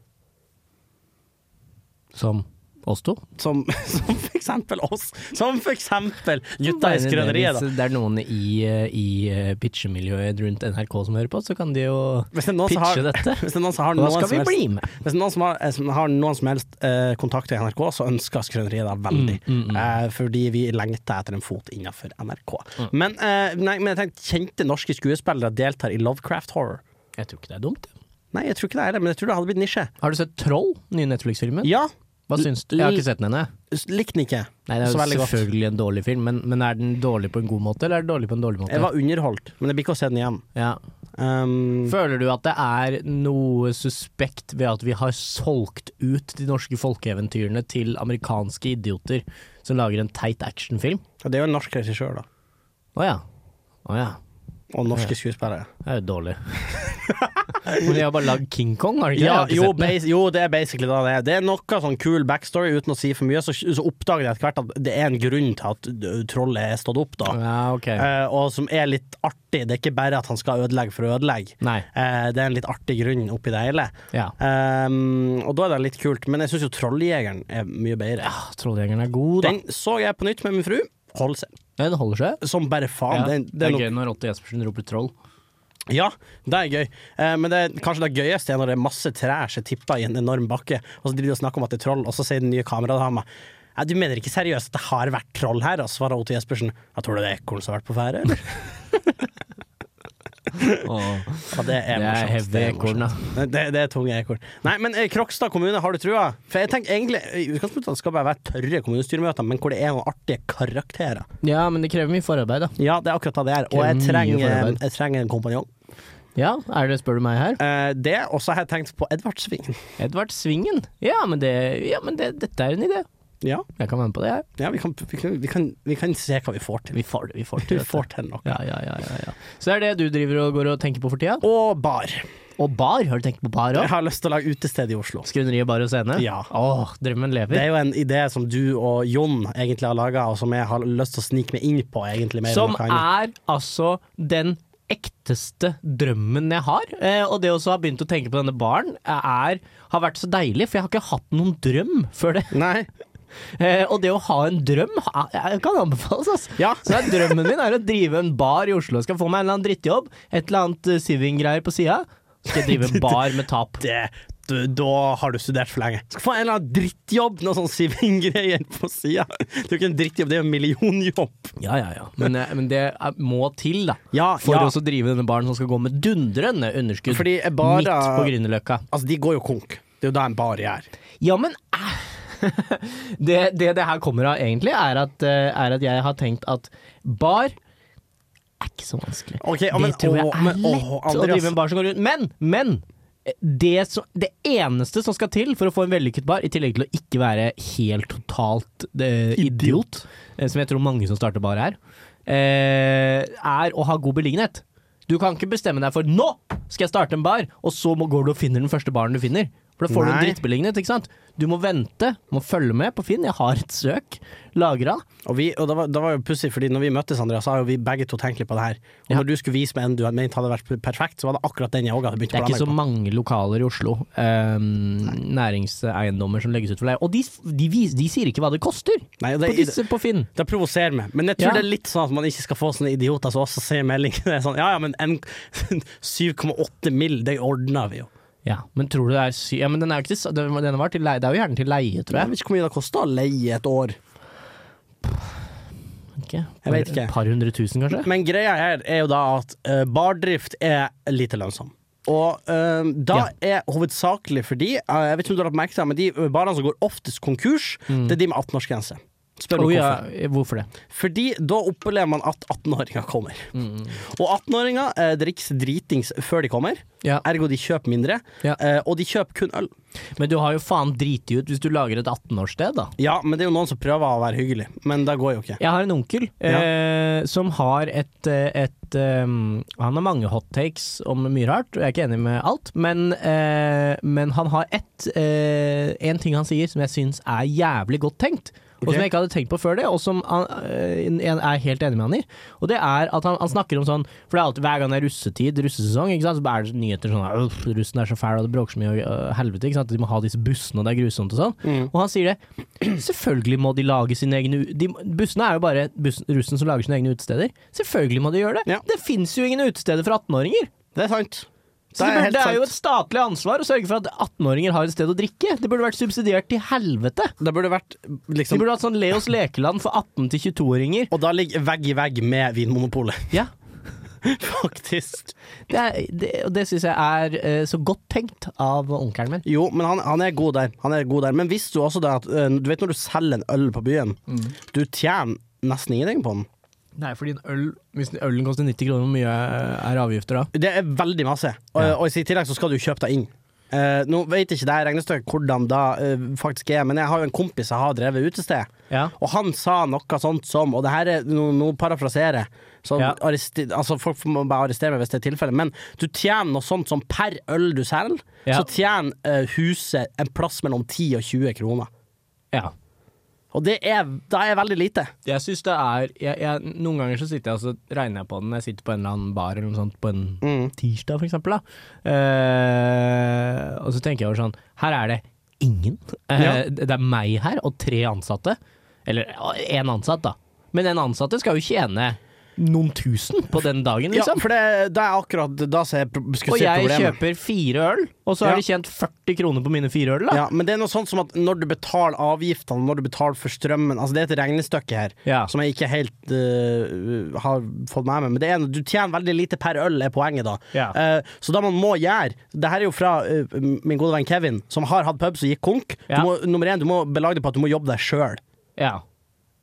Speaker 4: Som Oss to?
Speaker 3: Som, som for eksempel oss. Som for eksempel gutta i skrøneriet, da.
Speaker 4: Hvis det er noen i, eh, i eh, pitchemiljøet rundt NRK som hører på, så kan de jo
Speaker 3: Hvis det er noen som
Speaker 4: pitche
Speaker 3: har,
Speaker 4: dette.
Speaker 3: hvis det er noen som har
Speaker 4: Da
Speaker 3: noen
Speaker 4: skal
Speaker 3: som
Speaker 4: vi
Speaker 3: helst
Speaker 4: bli med.
Speaker 3: Hvis det er noen som har, eh, som har noen som helst eh, kontakt i NRK, så ønsker
Speaker 4: Mm,
Speaker 3: Skrøneriet deg veldig. Eh, fordi vi lengter etter en fot innenfor NRK. Men, eh, nei, men jeg tenkte, kjente norske skuespillere deltar i Lovecraft Horror.
Speaker 4: Jeg tror ikke det er dumt.
Speaker 3: Nei, jeg tror ikke det er det, men jeg tror det hadde blitt nisje.
Speaker 4: Har du sett Troll, nye Netflix-filmen?
Speaker 3: Ja,
Speaker 4: Hva syns du? Jeg har ikke sett den ennå.
Speaker 3: s- likte den ikke.
Speaker 4: Nei, det er jo
Speaker 3: så veldig godt.
Speaker 4: selvfølgelig en dårlig film, men, men er den dårlig på en god måte, eller er den dårlig på en dårlig måte?
Speaker 3: Jeg var underholdt, men jeg blir ikke å se den igjen.
Speaker 4: ja.
Speaker 3: Um,
Speaker 4: Føler du at det er noe suspekt ved at vi har solgt ut de norske folkeeventyrene til amerikanske idioter som lager en teit actionfilm?
Speaker 3: og det er jo en norsk regissør, da.
Speaker 4: Å ja. Å ja.
Speaker 3: Og norske skuespillere.
Speaker 4: Det er jo dårlig. Men de har bare lagd King Kong, har de ikke?
Speaker 3: Ja,
Speaker 4: det? Jeg
Speaker 3: jo,
Speaker 4: har ikke sett den.
Speaker 3: bas- jo, det er basically det det er. Det er noe sånn cool backstory, uten å si for mye. Så, så oppdager jeg etter hvert at det er en grunn til at ø, trollet er stått opp, da.
Speaker 4: Ja, ok.
Speaker 3: Eh, og som er litt artig. Det er ikke bare at han skal ødelegge for å ødelegge.
Speaker 4: Nei.
Speaker 3: Eh, det er en litt artig grunn oppi det hele.
Speaker 4: Ja.
Speaker 3: Ehm, og da er det litt kult. Men jeg syns jo Trolljegeren er mye bedre.
Speaker 4: Ah, Trolljegeren er god, da.
Speaker 3: Den så jeg på nytt med min fru. Hold seg.
Speaker 4: Ja, Den holder seg.
Speaker 3: Som bare faen.
Speaker 4: Ja,
Speaker 3: det, er- det er noe,
Speaker 4: gøy når Otte Jespersen roper troll.
Speaker 3: ja, det er gøy. Eh, men det er, kanskje det gøyeste er når det er masse trær som tipper i en enorm bakke, og så driver de og snakker om at det er troll, og så sier den nye kameradama «Nei, du mener ikke seriøst at det har vært troll her? Og så svarer Ote Jespersen Jeg tror du det er ekorn som har vært på ferde, eller? Ja, det er
Speaker 4: Det er
Speaker 3: morsomt.
Speaker 4: heavy
Speaker 3: det er morsomt.
Speaker 4: ekorn, da.
Speaker 3: Det, det er tunge ekorn. Nei, men eh, Krokstad kommune, har du trua? For jeg tenker egentlig I utgangspunktet det skal bare være tørre kommunestyremøter, men hvor det er noen artige karakterer.
Speaker 4: Ja, men det krever mye forarbeid, da.
Speaker 3: Ja, det er akkurat det det er. Og
Speaker 4: Krever
Speaker 3: jeg
Speaker 4: mye
Speaker 3: trenger,
Speaker 4: forarbeid.
Speaker 3: jeg trenger en kompanjong.
Speaker 4: Ja, er det spør du meg her?
Speaker 3: Eh, det, og så har jeg tenkt på Edvardsvingen.
Speaker 4: Edvard Svingen. Ja, men, det, ja, men det, dette er en idé.
Speaker 3: Ja,
Speaker 4: Jeg kan være med på det her.
Speaker 3: ja vi, kan, vi, kan, vi, kan, vi kan se hva vi får til.
Speaker 4: Vi får det, vi får
Speaker 3: Vi
Speaker 4: til.
Speaker 3: får til noe.
Speaker 4: Ja, ja, ja, ja, ja. Så det er det du driver og går og tenker på for tida?
Speaker 3: Og bar.
Speaker 4: Og bar, har du tenkt på bar
Speaker 3: Jeg
Speaker 4: òg?
Speaker 3: har lyst til å lage utested i Oslo.
Speaker 4: Skrøneriet bar og scene?
Speaker 3: Ja.
Speaker 4: Åh, drømmen
Speaker 3: Det
Speaker 4: lever.
Speaker 3: er jo en idé som du og Jon egentlig har laga, og som jeg har lyst til å snike meg inn på. egentlig mer enn
Speaker 4: Som
Speaker 3: noe annet.
Speaker 4: er altså den ekteste drømmen jeg har. Eh, og det også å ha begynt å tenke på denne baren, er, har vært så deilig, for jeg har ikke hatt noen drøm før det.
Speaker 3: Nei.
Speaker 4: Eh, og det å ha en drøm er- jeg kan anbefales, altså.
Speaker 3: Ja.
Speaker 4: Så det er drømmen min er å drive en bar i Oslo. Skal få meg en eller annen drittjobb. Et eller annet eh, siving-greier på sida. Skal jeg drive en bar med tap.
Speaker 3: det du, Da har du studert for lenge. Skal få en eller annen drittjobb, noe sånn Siving-greier på sida. Det er jo ikke en drittjobb, det er jo en millionjobb.
Speaker 4: Ja, ja, ja. Men, eh, men det er, må til, da.
Speaker 3: Ja,
Speaker 4: For
Speaker 3: ja.
Speaker 4: å også drive denne baren som skal gå med dundrende underskudd
Speaker 3: Fordi jeg bare-
Speaker 4: midt på Grünerløkka.
Speaker 3: Altså, de går jo konk. Det er jo da en bar gjør.
Speaker 4: Ja, men æ, det, det det her kommer av, egentlig, er at, eh, er at jeg har tenkt at bar er ikke så vanskelig.
Speaker 3: Ok, ja, men-
Speaker 4: det tror jeg
Speaker 3: åh,
Speaker 4: er
Speaker 3: men- åh,
Speaker 4: lett å
Speaker 3: Andreas.
Speaker 4: drive en bar som går rundt. Men! men eh, det, som, det eneste som skal til for å få en vellykket bar, i tillegg til å ikke være helt totalt eh, idiot, eh, som jeg tror mange som starter bar er, eh, er å ha god beliggenhet. Du kan ikke bestemme deg for 'nå skal jeg starte en bar', og så må, går du og finner den første baren du finner. For da får du en
Speaker 3: Nei.
Speaker 4: drittbeliggenhet, ikke sant? Du må vente, må følge med på Finn. Jeg har et søk lagra.
Speaker 3: Og, vi, og det, var, det var jo pussig, fordi når vi møttes, Andreas, så har jo vi begge to tenkt litt på det her. Og
Speaker 4: Ja.
Speaker 3: når du skulle vise meg en du hadde ment hadde vært perfekt, så var det akkurat den jeg òg hadde begynt
Speaker 4: Det
Speaker 3: å
Speaker 4: er ikke så
Speaker 3: planlegge på.
Speaker 4: mange lokaler i Oslo, eh, næringseiendommer, som legges ut for leie. Og de, de, vis, de sier ikke hva det koster
Speaker 3: Nei, og
Speaker 4: på
Speaker 3: det,
Speaker 4: disse på Finn.
Speaker 3: det provoserer meg, men jeg tror
Speaker 4: Ja.
Speaker 3: det er litt sånn at man ikke skal få sånne idioter som også sier melding. Det er sånn, ja ja, men en- 7,8 mill., det ordner vi jo.
Speaker 4: Ja, men tror du det er sy... Ja, men den er jo ikke til, s- den den var til leie. Det er jo gjerne til leie, tror
Speaker 3: Jeg
Speaker 4: jeg.
Speaker 3: vet ikke hvor mye det koster å leie et år.
Speaker 4: Ikke?
Speaker 3: Jeg vet ikke.
Speaker 4: Et par hundre tusen, kanskje?
Speaker 3: Men greia her er jo da at eh, bardrift er lite lønnsom. Og eh, da er hovedsakelig fordi eh, Jeg vet ikke om du har lagt merke til det, men de barene som går oftest konkurs, det er de med 18-årsgrense. Spør
Speaker 4: Mm.
Speaker 3: meg
Speaker 4: Å, ja,
Speaker 3: hvorfor.
Speaker 4: hvorfor det?
Speaker 3: Fordi da opplever man at 18-åringer kommer.
Speaker 4: Mm.
Speaker 3: Og 18-åringer eh, drikker seg dritings før de kommer,
Speaker 4: Ja.
Speaker 3: ergo de kjøper mindre.
Speaker 4: Ja.
Speaker 3: eh, og de kjøper kun øl.
Speaker 4: Men du har jo faen driti ut hvis du lager et 18-årssted, da.
Speaker 3: Ja, men det er jo noen som prøver å være hyggelig, men det går jo ikke.
Speaker 4: Jeg har en onkel eh, som har et, eh, et eh, Han har mange hot takes om mye rart, og jeg er ikke enig med alt, men, eh, men han har ett eh, En ting han sier som jeg syns er jævlig godt tenkt, og og som jeg ikke hadde tenkt på før det, og som han, øh, en- en er helt enig med han i. Og det er at han, han snakker om sånn For det er alltid hver gang det er russetid, russesesong, ikke sant? så er det nyheter sånn «Uff, Russen er så fæl, og det bråker så mye, og øh, helvete. Ikke sant? De må ha disse bussene, og det er grusomt og sånn.
Speaker 3: Mm.
Speaker 4: Og han sier det. Selvfølgelig må de lage sine egne u- de, Bussene er jo bare bussen, russen som lager sine egne utesteder. Selvfølgelig må de gjøre det.
Speaker 3: Ja.
Speaker 4: Det fins jo ingen utesteder for 18-åringer.
Speaker 3: Det er sant.
Speaker 4: Så
Speaker 3: Det
Speaker 4: det,
Speaker 3: er
Speaker 4: burde,
Speaker 3: helt
Speaker 4: det er jo
Speaker 3: sant.
Speaker 4: et statlig ansvar å sørge for at 18-åringer har et sted å drikke. Det burde vært subsidiert til helvete.
Speaker 3: Det burde vært
Speaker 4: De
Speaker 3: liksom
Speaker 4: burde hatt sånn Leos lekeland for 18- til 22-åringer.
Speaker 3: Og da ligger vegg i vegg med Vinmonopolet,
Speaker 4: Ja,
Speaker 3: faktisk.
Speaker 4: det er, det, og det syns jeg er eh, så godt tenkt av onkelen min.
Speaker 3: Jo, men han, han er god der. Han er god der. Men visste du også det at eh, Du vet når du selger en øl på byen,
Speaker 4: Mm.
Speaker 3: du tjener nesten ingenting på den.
Speaker 4: Nei, fordi hvis ølen koster 90 kroner, hvor mye er avgifter da?
Speaker 3: Det er veldig masse. Og,
Speaker 4: Ja.
Speaker 3: og i tillegg så skal du kjøpe deg inn. Eh, nå vet ikke det her regnestykket hvordan det eh, faktisk er, men jeg har jo en kompis jeg har drevet utested.
Speaker 4: Ja.
Speaker 3: Og han sa noe sånt som, og det her er nå no, parafraserer jeg, så
Speaker 4: Ja.
Speaker 3: arresti- altså folk må bare arrestere meg hvis det er tilfellet, men du tjener noe sånt som per øl du selger,
Speaker 4: Ja.
Speaker 3: så tjener eh, huset en plass mellom 10 og 20 kroner.
Speaker 4: ja.
Speaker 3: Og det er, det er veldig lite.
Speaker 4: Jeg synes det er jeg, jeg, Noen ganger så sitter jeg og så regner jeg på den. Jeg sitter på en eller annen bar eller noe sånt på en
Speaker 3: Mm.
Speaker 4: tirsdag, for eksempel. Da. Eh, og så tenker jeg over sånn Her er det ingen. Eh,
Speaker 3: Ja.
Speaker 4: Det er meg her og tre ansatte. Eller én ansatt, da. Men den ansatte skal jo tjene noen tusen på den dagen,
Speaker 3: Ja,
Speaker 4: liksom.
Speaker 3: for det, det er akkurat da som er pro- skulle
Speaker 4: og
Speaker 3: si
Speaker 4: jeg
Speaker 3: problemet.
Speaker 4: kjøper fire øl, og så
Speaker 3: Ja.
Speaker 4: har de tjent 40 kroner på mine fire øl, da.
Speaker 3: Ja, men det er noe sånt som at når du betaler avgiftene, når du betaler for strømmen Altså det er et regnestykke her
Speaker 4: Ja.
Speaker 3: som jeg ikke helt eh, har fått med meg, men det er, du tjener veldig lite per øl, er poenget da.
Speaker 4: Ja.
Speaker 3: Eh, så da man må gjøre Det her er jo fra eh, min gode venn Kevin, som har hatt pub som gikk konk.
Speaker 4: Ja.
Speaker 3: Du må, nummer én, du må belage deg på at du må jobbe deg sjøl.
Speaker 4: Ja.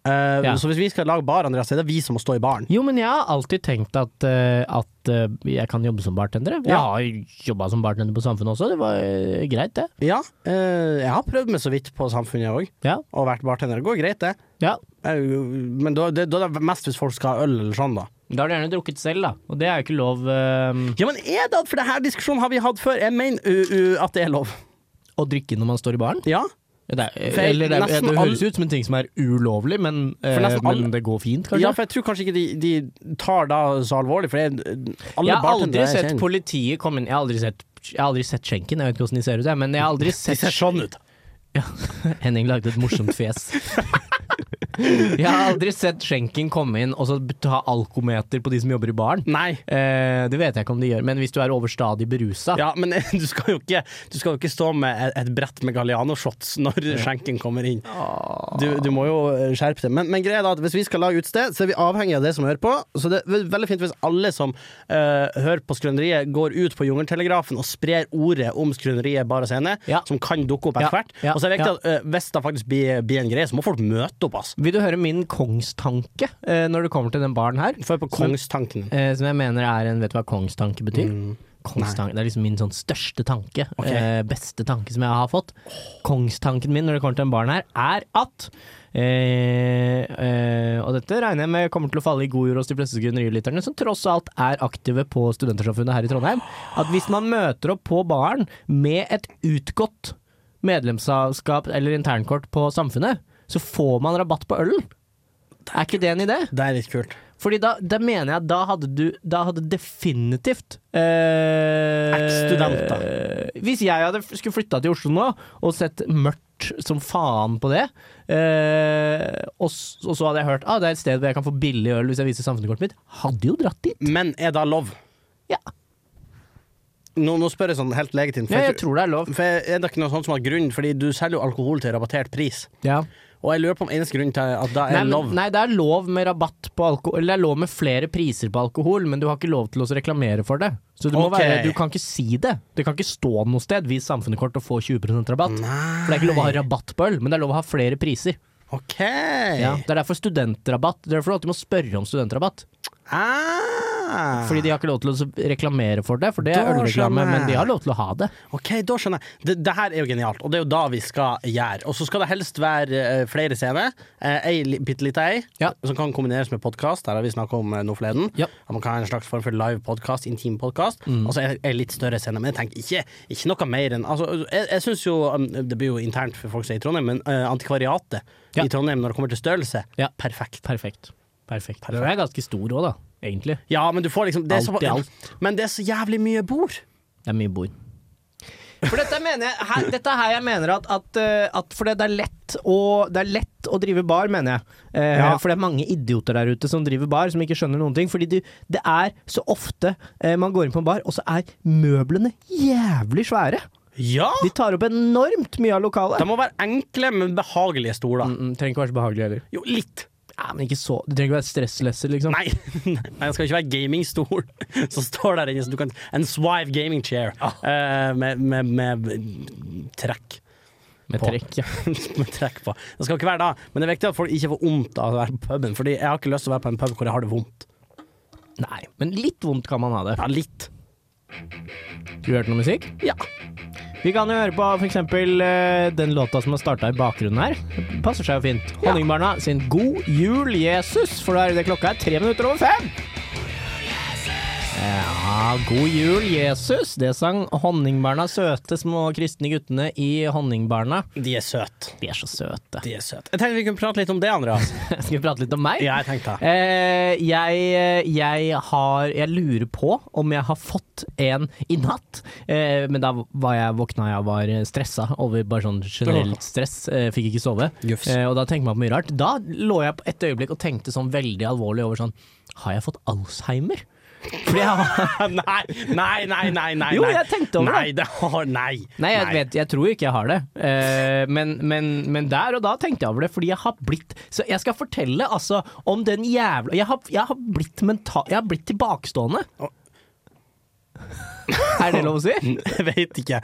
Speaker 3: Eh,
Speaker 4: Ja.
Speaker 3: Så hvis vi skal lage bar, Andreas, så er det vi som må stå i baren.
Speaker 4: Jo, men jeg har alltid tenkt at, eh, at eh, jeg kan jobbe som bartender. Jeg
Speaker 3: Ja.
Speaker 4: har jobba som bartender på Samfunnet også, det var eh, greit, det.
Speaker 3: Ja, eh, jeg har prøvd meg så vidt på Samfunnet òg,
Speaker 4: Ja.
Speaker 3: og vært bartender. Det går greit, det.
Speaker 4: ja.
Speaker 3: Eh, Men da, det, da er det mest hvis folk skal ha øl eller sånn, da.
Speaker 4: Da har du gjerne drukket selv, da, og det er jo ikke lov. eh,
Speaker 3: Ja, men er det at For det her diskusjonen har vi hatt før. Jeg mener u, u, at det er lov.
Speaker 4: Å drikke når man står i baren?
Speaker 3: Ja.
Speaker 4: Det, er, eh,
Speaker 3: For jeg-
Speaker 4: eller det, er,
Speaker 3: nesten
Speaker 4: det høres
Speaker 3: all-
Speaker 4: ut som en ting som er ulovlig, men, eh,
Speaker 3: For nesten all-
Speaker 4: men det går fint, kanskje?
Speaker 3: ja, for jeg tror kanskje ikke de, de tar da så alvorlig, for det er alle
Speaker 4: jeg har aldri
Speaker 3: bartendere jeg
Speaker 4: sett
Speaker 3: kjenner.
Speaker 4: politiet komme inn Jeg har aldri sett, jeg har aldri sett skjenken, jeg vet ikke hvordan de ser ut, jeg, men jeg har aldri
Speaker 3: De
Speaker 4: sett
Speaker 3: ser sånn ut.
Speaker 4: Henning lagde et morsomt fjes. Jeg har aldri sett skjenken komme inn og så ta alkometer på de som jobber i baren.
Speaker 3: Nei.
Speaker 4: Eh, det vet jeg ikke om de gjør, men hvis du er overstadig berusa
Speaker 3: Ja, men du skal jo ikke, du skal jo ikke stå med et, et brett med Galliano-shots når skjenken kommer inn. Du, du må jo eh, skjerpe deg. Men, men greia er da at hvis vi skal lage utested, så er vi avhengig av det som hører på. Så det er veldig fint hvis alle som eh, hører på Skrøneriet, går ut på Jungeltelegrafen og sprer ordet om Skrøneriet bare scene,
Speaker 4: Ja.
Speaker 3: som kan dukke opp
Speaker 4: Ja,
Speaker 3: etter hvert.
Speaker 4: ja,
Speaker 3: Og så er det viktig at eh, hvis det faktisk blir, blir en greie, så må folk møte opp, ass.
Speaker 4: Vil du høre min kongstanke eh, når det kommer til den baren her?
Speaker 3: Før på Kongstanken.
Speaker 4: Eh, som jeg mener er en Vet du hva kongstanke betyr? Kongstanke, det er liksom min sånn største tanke.
Speaker 3: Ok.
Speaker 4: Eh, beste tanke som jeg har fått. Kongstanken min når det kommer til den baren her, er at eh, eh, Og dette regner jeg med kommer til å falle i god jord hos de fleste skrønerilytterne, som tross alt er aktive på Studentersamfunnet her i Trondheim. At hvis man møter opp på baren med et utgått medlemskap eller internkort på Samfunnet, så får man rabatt på ølen. Er ikke det en idé?
Speaker 3: Det er litt kult.
Speaker 4: Fordi da, da mener jeg at da hadde du Da hadde definitivt eh,
Speaker 3: Eks-student, da.
Speaker 4: Hvis jeg hadde f- skulle flytta til Oslo nå og sett mørkt som faen på det, eh, og, s- og så hadde jeg hørt ah, det er et sted hvor jeg kan få billig øl hvis jeg viser samfunnskortet mitt, hadde jo dratt dit.
Speaker 3: Men er det lov?
Speaker 4: Ja,
Speaker 3: Nå, nå spør jeg sånn helt legitimt. for
Speaker 4: ja
Speaker 3: jeg
Speaker 4: jeg tror det er lov.
Speaker 3: For Er det ikke noe sånt som har grunn? Fordi du selger jo alkohol til rabattert pris.
Speaker 4: Ja.
Speaker 3: Og jeg lurer på om eneste grunn til at det er
Speaker 4: Nei, men-
Speaker 3: lov.
Speaker 4: nei, det er lov med rabatt på alkohol Eller det er lov med flere priser på alkohol, men du har ikke lov til å reklamere for det. Så du, må
Speaker 3: Ok.
Speaker 4: være, du kan ikke si det. Det kan ikke stå noe sted 'vis samfunnet kort og få 20 rabatt'. For det er ikke lov å ha rabatt på øl, men det er lov å ha flere priser.
Speaker 3: OK! Eh.
Speaker 4: Ja. Det er derfor studentrabatt. Det er derfor du alltid må spørre om studentrabatt.
Speaker 3: Ah, Ah.
Speaker 4: Fordi de har ikke lov til å reklamere for det, for det er
Speaker 3: Da
Speaker 4: ølreklame,
Speaker 3: skjønner jeg.
Speaker 4: men de har lov til å ha det.
Speaker 3: Ok, da skjønner jeg. Det, det her er jo genialt, og det er jo da vi skal gjøre. Og så skal det helst være eh, flere scener. Uh, ei li- bitte lita ei,
Speaker 4: Ja.
Speaker 3: som kan kombineres med podkast. Der har vi snakka om uh, nå forleden.
Speaker 4: Ja. Mm.
Speaker 3: At man kan ha en slags form for live podkast, intim podkast. Og så ei ei litt større scene. Men jeg tenker ikke, ikke noe mer enn altså, Jeg, jeg syns jo um, Det blir jo internt for folk som er i Trondheim, men eh, antikvariatet
Speaker 4: Ja.
Speaker 3: i Trondheim når det kommer til størrelse
Speaker 4: Ja. Perfekt. Perfekt. Perfekt. Den er ganske stor òg, da, egentlig.
Speaker 3: Ja, men du får liksom det er så,
Speaker 4: Alt i alt.
Speaker 3: Men det er så jævlig mye bord.
Speaker 4: Det er mye bord. For dette mener jeg, her, dette er her jeg mener at, at, eh, at For det det er, lett å, det er lett å drive bar, mener jeg. Eh,
Speaker 2: Ja.
Speaker 4: For det er mange idioter der ute som driver bar, som ikke skjønner noen ting. Fordi du, det er så ofte eh, man går inn på en bar, og så er møblene jævlig svære.
Speaker 3: Ja!
Speaker 4: De tar opp enormt mye av
Speaker 3: De
Speaker 4: lokalet.
Speaker 3: må være enkle, men behagelige stoler.
Speaker 4: Mm, mm, trenger ikke være så behagelig heller.
Speaker 3: Jo, litt.
Speaker 4: Ja, men ikke så Du trenger ikke være stresslesser, liksom.
Speaker 3: Nei, nei, det skal ikke være gamingstol som står der inne. Så du kan, en Swive gaming chair
Speaker 4: Ah.
Speaker 3: eh, med, med, med trekk.
Speaker 4: Med
Speaker 3: På.
Speaker 4: trekk, ja.
Speaker 3: med trekk på. Det skal ikke være da, men det er viktig at folk ikke får vondt av å være på puben. Fordi jeg har ikke lyst til å være på en pub hvor jeg har det vondt.
Speaker 4: Nei, men litt vondt kan man ha det.
Speaker 3: Ja, litt.
Speaker 4: Du hørte noe musikk?
Speaker 3: Ja.
Speaker 4: Vi kan jo høre på for eksempel eh, den låta som har starta i bakgrunnen her. Det passer seg jo fint. Honningbarna sin God jul, Jesus, for da er det klokka er tre minutter over fem. Ja, God jul, Jesus. Det sang Honningbarna, søte små kristne guttene i Honningbarna.
Speaker 3: De er søte.
Speaker 4: De er så søte.
Speaker 3: De er søte. Jeg tenkte vi kunne prate litt om det, Andreas.
Speaker 4: Skal vi prate litt om meg?
Speaker 3: Ja, jeg tenkte det.
Speaker 4: Eh, jeg, jeg har Jeg lurer på om jeg har fått en i natt. Eh, men da var jeg våkna jeg var stressa over bare sånn generelt stress. Eh, fikk ikke sove.
Speaker 3: Jufs.
Speaker 4: Eh, og da tenkte man på mye rart. Da lå jeg på et øyeblikk og tenkte sånn veldig alvorlig over sånn Har jeg fått Alzheimer? Fordi jeg har
Speaker 3: nei, nei, nei, nei, nei.
Speaker 4: Jo,
Speaker 3: nei.
Speaker 4: jeg tenkte over
Speaker 3: nei, det. har- Nei,
Speaker 4: Nei, jeg, Vet, jeg tror ikke jeg har det. Eh, men, men, men der og da tenkte jeg over det, fordi jeg har blitt Så jeg skal fortelle altså om den jævla Jeg har, jeg har, blitt, menta, jeg har blitt tilbakestående.
Speaker 3: Å.
Speaker 4: er det lov å si?
Speaker 3: Jeg vet ikke.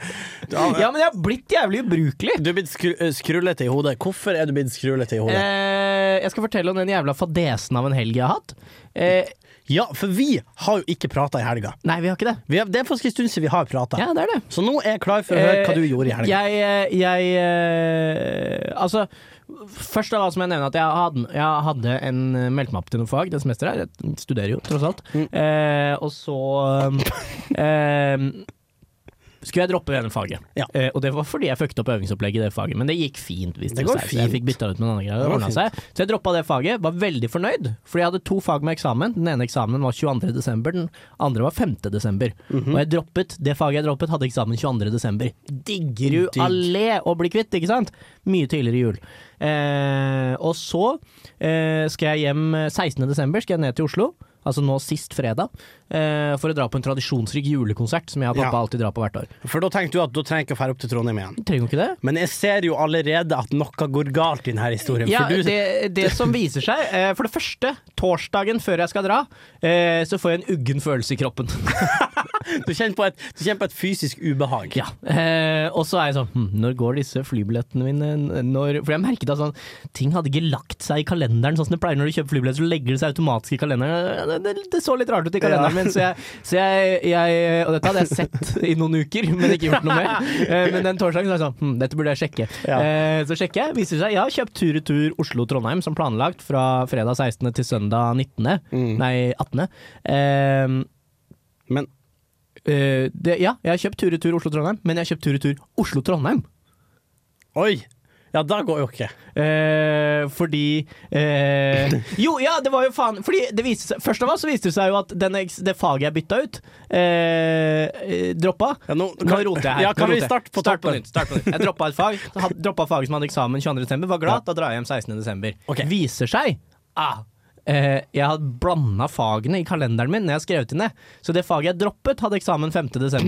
Speaker 3: Du,
Speaker 4: Ja, men jeg har blitt jævlig ubrukelig.
Speaker 3: du er blitt skru skrullete i hodet. Hvorfor er du blitt skrullete i hodet?
Speaker 4: Eh, jeg skal fortelle om den jævla fadesen av en helg jeg har hatt. Eh,
Speaker 3: Ja, for vi har jo ikke prata i helga.
Speaker 4: nei, vi har ikke det.
Speaker 3: Vi har, det er faktisk en stund siden vi har prata.
Speaker 4: Ja, det er det.
Speaker 3: Så nå er jeg klar for å høre hva du gjorde i helga.
Speaker 4: Eh, Jeg, jeg eh, Altså, først av alt så må jeg nevne at jeg hadde, jeg hadde en meldt meg opp til noe fag det semesteret her. Jeg studerer jo, tross alt.
Speaker 3: Mm.
Speaker 4: Eh, og så eh, skulle jeg droppe det ene faget.
Speaker 3: Ja.
Speaker 4: Eh, og det var fordi jeg fucket opp øvingsopplegget i det faget, men det gikk fint. Hvis det
Speaker 3: Det går
Speaker 4: seg. Så jeg
Speaker 3: fint.
Speaker 4: fikk bytta ut med en annen greie,
Speaker 3: Det
Speaker 4: og
Speaker 3: går
Speaker 4: ordnet seg. Så jeg droppa det faget, var veldig fornøyd, fordi jeg hadde to fag med eksamen. Den ene eksamen var 22. desember, den andre var 5. desember.
Speaker 3: Mhm.
Speaker 4: Og jeg droppet det faget jeg droppet, hadde eksamen 22. desember. Digger du
Speaker 3: Digg.
Speaker 4: allé å bli kvitt, ikke sant? Mye tidligere jul. Eh, og så eh, skal jeg hjem eh, 16. desember, skal jeg ned til Oslo. Altså nå sist fredag, eh, for å dra på en tradisjonsrik julekonsert som jeg og pappa
Speaker 3: Ja.
Speaker 4: alltid drar på hvert år.
Speaker 3: For da tenkte du at da trenger jeg ikke å dra opp til Trondheim igjen.
Speaker 4: Du trenger jo ikke det.
Speaker 3: Men jeg ser jo allerede at noe går galt i denne historien.
Speaker 4: Ja,
Speaker 3: for du,
Speaker 4: det, det som viser seg eh, For det første, torsdagen før jeg skal dra, eh, så får jeg en uggen følelse i kroppen.
Speaker 3: du, kjenner på et, du kjenner på et fysisk ubehag.
Speaker 4: Ja, eh, Og så er jeg sånn hm, Når går disse flybillettene mine? N- Når, for jeg merket at sånn, ting hadde ikke lagt seg i kalenderen, sånn som det pleier når du kjøper flybilletter. Så legger det seg automatisk i kalenderen. Det, det, det så litt rart ut i kalenderen min, så, jeg, så jeg, jeg Og dette hadde jeg sett i noen uker, men ikke gjort noe med. Eh, men den torsdagen så er jeg sånn hm, Dette burde jeg sjekke.
Speaker 3: Ja.
Speaker 4: Eh, så sjekker jeg. Viser seg jeg har kjøpt tur-retur Oslo-Trondheim som planlagt fra fredag 16. til søndag 19. Nei, 18. Eh,
Speaker 3: Mm. Men
Speaker 4: Eh, det, ja, jeg har kjøpt tur-retur Oslo-Trondheim, men jeg har kjøpt tur-retur Oslo-Trondheim.
Speaker 3: oi! Ja, da går jo ikke.
Speaker 4: Eh, fordi eh, Jo, ja, det var jo faen Fordi det viste seg Først av alt så viste det seg jo at den, eks- det faget jeg bytta ut, eh, eh, droppa.
Speaker 3: Ja, nå,
Speaker 4: Nå roter jeg her.
Speaker 3: Ja,
Speaker 4: Nå
Speaker 3: kan
Speaker 4: roter
Speaker 3: vi
Speaker 4: jeg.
Speaker 3: starte på
Speaker 4: Start på
Speaker 3: toppen?
Speaker 4: nytt, start på nytt. Jeg droppa et fag, had- droppa faget som hadde eksamen 22.12. Var glad, da drar jeg hjem 16.12.
Speaker 3: Ok.
Speaker 4: Viser seg ah, eh, Jeg hadde blanda fagene i kalenderen min når jeg skrev til ned. Så det faget jeg droppet, hadde eksamen 5.12.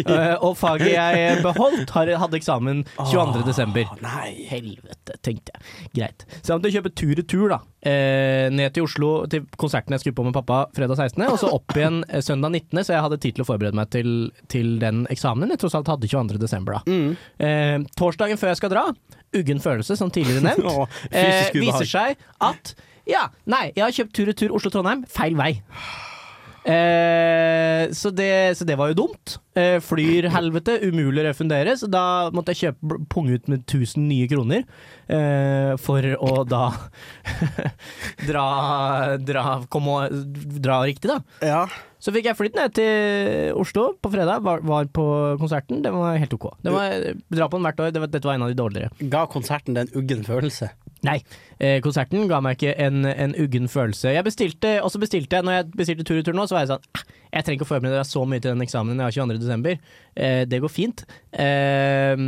Speaker 4: Eh, og faget jeg beholdt, har- hadde eksamen 22.12.
Speaker 3: Å, Nei.
Speaker 4: Helvete, tenkte jeg. Greit. Så jeg måtte kjøpe tur-retur, da. Eh, ned til Oslo til konserten jeg skulle på med pappa fredag 16., og så opp igjen eh, søndag 19., så jeg hadde tid til å forberede meg til, til den eksamenen jeg tross alt hadde 22. desember, da. Eh, torsdagen før jeg skal dra, uggen følelse, som tidligere nevnt,
Speaker 3: Å,
Speaker 4: eh,
Speaker 3: fysisk ubehag.
Speaker 4: viser seg at ja, nei, jeg har kjøpt tur-retur Oslo-Trondheim, feil vei. Eh, så, det, så det var jo dumt. Eh, flyr helvete, umulig å refundere, så da måtte jeg kjøpe bl- punge ut med 1000 nye kroner eh, for å da dra, dra, komme og, dra riktig, da.
Speaker 3: Ja.
Speaker 4: Så fikk jeg flytt ned til Oslo på fredag, var, var på konserten. Det var helt ok. Det var, dra på den hvert år, det var, dette var en av de dårligere.
Speaker 3: Ga konserten den uggen følelse?
Speaker 4: Nei, eh, konserten ga meg ikke en, en uggen følelse. Jeg bestilte, og så bestilte jeg, når jeg bestilte tur i tur nå, så var jeg sånn "Ah, Jeg trenger ikke å forberede meg så mye til den eksamen jeg har 22. desember. Eh, det går fint. Eh,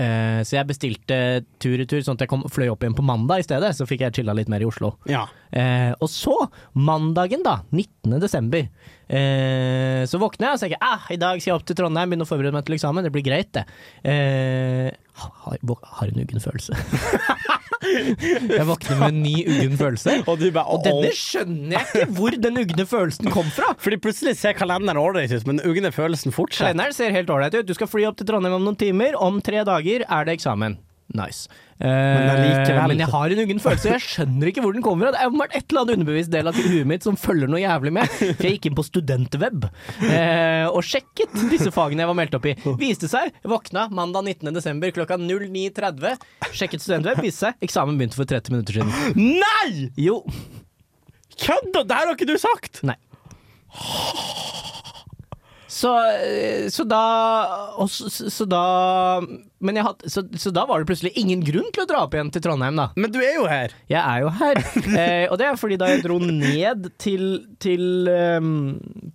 Speaker 4: eh, så jeg bestilte tur i tur, sånn at jeg kom, fløy opp igjen på mandag i stedet. Så fikk jeg chilla litt mer i Oslo.
Speaker 3: Ja.
Speaker 4: Eh, og så, mandagen da, 19. desember, eh, så våkner jeg og tenker ah, i dag skal jeg opp til Trondheim, begynne å forberede meg til eksamen, det blir greit det. Eh, har, våk- har en uggen følelse. jeg våkner med en ny uggen følelse.
Speaker 3: Og du bare
Speaker 4: Og denne skjønner jeg ikke hvor den ugne følelsen kom fra.
Speaker 3: Fordi plutselig ser kalenderen ålreit ut, men den ugne følelsen fortsetter.
Speaker 4: Kalenderen ser helt ålreit ut. Du skal fly opp til Trondheim om noen timer. Om tre dager er det eksamen. Nice. Eh,
Speaker 3: allikevel-
Speaker 4: men jeg har en uggen følelse, og jeg skjønner ikke hvor den kommer fra. Det er åpenbart et eller annet underbevisst del av huet mitt som følger noe jævlig med. For jeg gikk inn på studentweb eh, og sjekket disse fagene jeg var meldt opp i. Viste seg, jeg våkna mandag 19.12. klokka 09.30. Sjekket studentweb, viste seg, eksamen begynte for 30 minutter siden.
Speaker 3: Nei!
Speaker 4: Jo.
Speaker 3: Kødda! Det her har ikke du sagt!
Speaker 4: Nei. Så, eh, så da og så, så- så da Men jeg hadde, så, så da var det plutselig ingen grunn til å dra opp igjen til Trondheim, da.
Speaker 3: Men du er jo her.
Speaker 4: Jeg er jo her. Eh, og det er fordi da jeg dro ned til, til, ehm,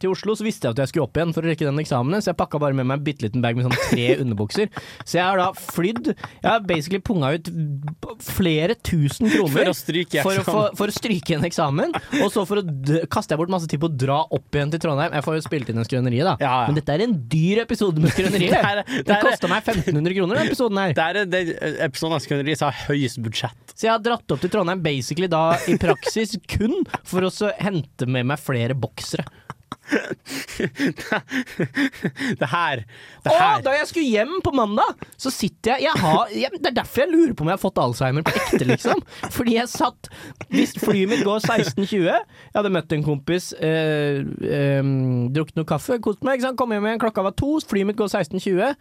Speaker 4: til Oslo, så visste jeg at jeg skulle opp igjen for å rekke den eksamenen, så jeg pakka bare med meg en bitte liten bag med sånn tre underbukser. Så jeg har da flydd Jeg har basically punga ut b- flere tusen kroner
Speaker 3: For å stryke i
Speaker 4: for å, få,
Speaker 3: eksamen.
Speaker 4: for å stryke en eksamen, og så for å d kaster jeg bort masse tid på å dra opp igjen til Trondheim. Jeg får jo spilt inn en skrøneriet, da.
Speaker 3: Ja, ja.
Speaker 4: Men dette er en dyr episode med skrøneriet.
Speaker 3: Det er-
Speaker 4: det
Speaker 3: det er-
Speaker 4: kosta meg 1500 kroner, den episoden her.
Speaker 3: Det er den episoden av Skønneri som har høyest budsjett.
Speaker 4: Så jeg har dratt opp til Trondheim basically da i praksis kun for å så hente med meg flere boksere.
Speaker 3: Det her. Det
Speaker 4: Og
Speaker 3: her.
Speaker 4: da jeg skulle hjem på mandag, så sitter jeg, jeg, har, jeg Det er derfor jeg lurer på om jeg har fått Alzheimer på ekte, liksom. Fordi jeg satt Hvis flyet mitt går 16.20 Jeg hadde møtt en kompis, eh, eh, drukket noe kaffe, kost meg. Ikke sant? Kom hjem igjen, klokka var to, flyet mitt går 16.20.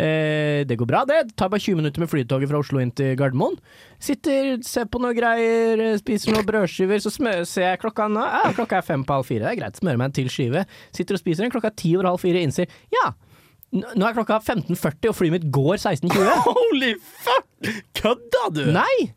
Speaker 4: Eh, det går bra, det. Det tar bare 20 minutter med flytoget fra Oslo inn til Gardermoen. Sitter, ser på noe greier, eh, spiser noen brødskiver, så smø- ser jeg klokka nå. Ja, klokka er fem på halv fire, det er greit. Smører meg en til skive. Sitter og spiser den, klokka er ti over halv fire, innser ja. N- Nå er klokka 15.40, og flyet mitt går 16.20.
Speaker 3: Holy fuck! Kødda du?
Speaker 4: Nei!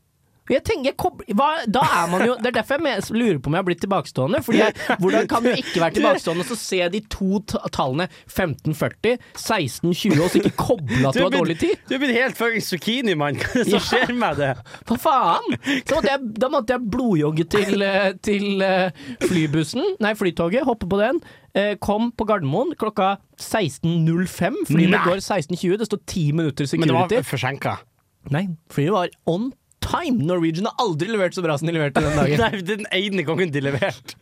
Speaker 4: Jeg tenker, jeg kobl- hva, da er man jo, Det er derfor jeg mes- lurer på om jeg har blitt tilbakestående. Fordi jeg, Hvordan kan du ikke være tilbakestående og så se de to ta- tallene 15.40, 16.20, og så ikke koble at du
Speaker 3: er
Speaker 4: har dårlig tid?
Speaker 3: blitt- Du er blitt helt fuckings zucchini, mann. Hva er det som skjer med det?
Speaker 4: Hva faen? Så måtte jeg, da måtte jeg blodjogge til, eh, til eh, flybussen, nei, flytoget, hoppe på den. eh, Kom på Gardermoen klokka 16.05. Flyet
Speaker 3: Nei.
Speaker 4: går 16.20, det står ti minutter
Speaker 3: Men det
Speaker 4: security.
Speaker 3: var forsinka.
Speaker 4: Nei, flyet var on time. Norwegian har aldri levert så bra som de leverte den dagen.
Speaker 3: Nei, den ene gangen de leverte.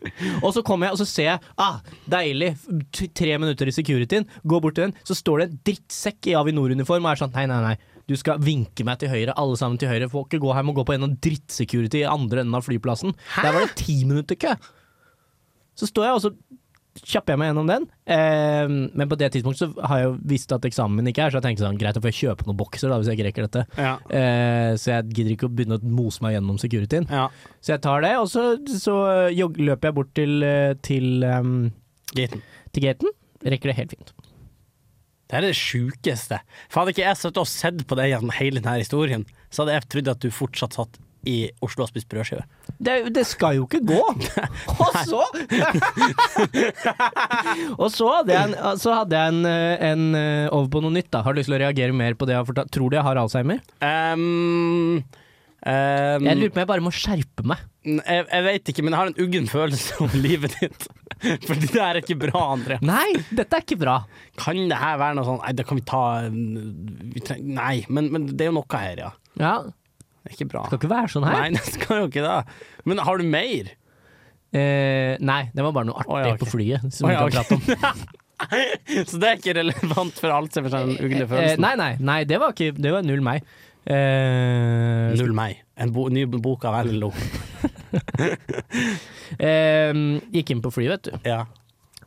Speaker 4: og så kommer jeg og så ser jeg, ah, deilig, t- tre minutter i securityen, går bort til den, så står det en drittsekk i Avinor-uniform og er sånn, nei, nei, nei. Du skal vinke meg til høyre, alle sammen til høyre. Får ikke gå her, må gå på en av drittsecurity i andre enden av flyplassen. Der var det ti minutter kø. Så står jeg, og så kjapper jeg meg gjennom den. Eh, men på det tidspunktet så har jeg jo visst at eksamen min ikke er, så jeg tenkte sånn, greit, da får jeg kjøpe noen bokser da, hvis jeg ikke rekker dette.
Speaker 3: Ja.
Speaker 4: Eh, så jeg gidder ikke å begynne å mose meg gjennom securityen.
Speaker 3: Ja.
Speaker 4: Så jeg tar det, og så, så jog, løper jeg bort til, eh, til, ehm,
Speaker 3: Gaten.
Speaker 4: til gaten. Rekker det helt fint.
Speaker 3: Det her er det sjukeste. Faen, ikke jeg satt og sett på det gjennom hele denne historien, så hadde jeg trodd at du fortsatt satt i Oslo og spiste brødskive.
Speaker 4: Det, det skal jo ikke gå! Og så Og så hadde jeg en, så hadde jeg en, eh, en eh, over på noe nytt, da. Har du lyst til å reagere mer på det jeg har fortalt? Tror du jeg har alzheimer?
Speaker 3: Um, um,
Speaker 4: Jeg lurer på om jeg bare må skjerpe meg.
Speaker 3: Jeg, jeg vet ikke, men jeg har en uggen følelse om livet ditt. Fordi det her er ikke bra, André.
Speaker 4: Nei, dette er ikke bra.
Speaker 3: Kan det her være noe sånn Nei, det kan vi ta vi treng, Nei, men, men det er jo noe her, ja.
Speaker 4: Ja,
Speaker 3: Det er ikke bra.
Speaker 4: Skal ikke være sånn her.
Speaker 3: Nei, det skal jo ikke det. Men har du mer?
Speaker 4: Eh, nei, det var bare noe artig
Speaker 3: Å, ja, ok.
Speaker 4: på flyet. Som
Speaker 3: Å,
Speaker 4: vi
Speaker 3: ja,
Speaker 4: kan
Speaker 3: ok.
Speaker 4: prate om.
Speaker 3: Så det er ikke relevant for alt som er den ugne
Speaker 4: Eh,
Speaker 3: følelsen?
Speaker 4: nei, nei, nei, det var ikke Det var null meg. Eh,
Speaker 3: Null meg. En bo, ny bok av LLO.
Speaker 4: eh, Ehm, gikk inn på fly, vet du.
Speaker 3: Ja.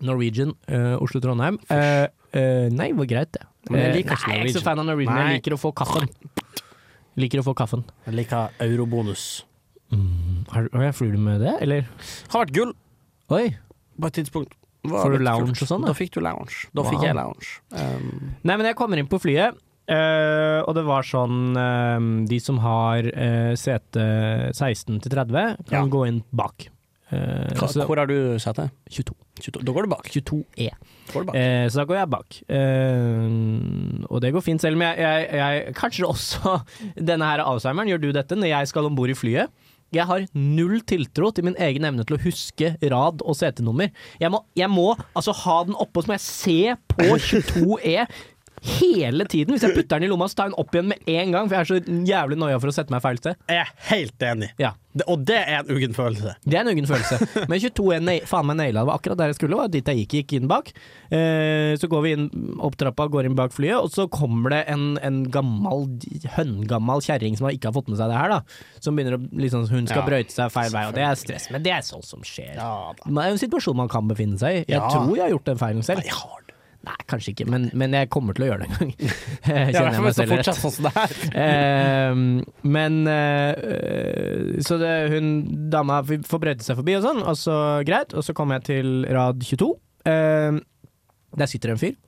Speaker 4: Norwegian, eh, Oslo-Trondheim. Eh, eh, nei, det var greit, det.
Speaker 3: Men jeg
Speaker 4: Eh,
Speaker 3: liker ikke
Speaker 4: nei, jeg er ikke
Speaker 3: Norwegian.
Speaker 4: så fan av Norwegian.
Speaker 3: Nei.
Speaker 4: Jeg liker å få kaffen. Liker å få kaffen. Mm,
Speaker 3: Jeg liker eurobonus.
Speaker 4: Har, har jeg flyr du med det, eller?
Speaker 3: Har vært gull
Speaker 4: Oi.
Speaker 3: på et tidspunkt. Var
Speaker 4: Får du
Speaker 3: litt
Speaker 4: lounge
Speaker 3: kult.
Speaker 4: og sånn, da?
Speaker 3: Da fikk du lounge. Da
Speaker 4: Wow.
Speaker 3: fikk jeg lounge. Um,
Speaker 4: Nei, men jeg kommer inn på flyet, eh, og det var sånn eh, De som har eh, sete 16 til 30, kan
Speaker 3: Ja.
Speaker 4: gå inn bak. Eh,
Speaker 3: hva,
Speaker 4: så,
Speaker 3: hvor har du sett det?
Speaker 4: 22.
Speaker 3: 22. Da går du bak.
Speaker 4: 22E.
Speaker 3: Går du bak.
Speaker 4: Eh, så da går jeg bak. Eh, og det går fint, selv om jeg, jeg, jeg Kanskje også denne her Alzheimeren. Gjør du dette når jeg skal om bord i flyet? Jeg har null tiltro til min egen evne til å huske rad og setenummer. Jeg må, jeg må altså ha den oppe, og så må jeg se på 22E hele tiden. Hvis jeg putter den i lomma, så tar jeg den opp igjen med en gang, for jeg er så jævlig noia for å sette meg feil sted.
Speaker 3: Jeg er helt enig.
Speaker 4: Ja.
Speaker 3: Det, og det er en uggen følelse.
Speaker 4: Det er en uggen følelse. Men 22 er nei, faen meg naila. Det var akkurat der jeg skulle. Var dit jeg gikk, gikk inn bak. Eh, så går vi inn opp trappa, går inn bak flyet, og så kommer det en, en gammel, høngammal kjerring som ikke har fått med seg det her, da. Som begynner å liksom Hun skal
Speaker 3: Ja,
Speaker 4: brøyte seg feil vei, og det er stress. Men det er sånt som skjer.
Speaker 3: Ja da.
Speaker 4: Men Det er jo en situasjon man kan befinne seg i. Jeg
Speaker 3: Ja.
Speaker 4: tror jeg har gjort den feilen selv.
Speaker 3: Jeg har det.
Speaker 4: Nei, kanskje ikke, men, men jeg kommer til å gjøre det en gang. Kjenner
Speaker 3: Jeg
Speaker 4: jeg meg
Speaker 3: skal
Speaker 4: selv rett.
Speaker 3: fortsette sånn som det her.
Speaker 4: Ehm, men eh, eh, Så det, hun dama f- får brøyte seg forbi og sånn, og så greit. Og så kommer jeg til rad 22. Ehm, der sitter det en fyr.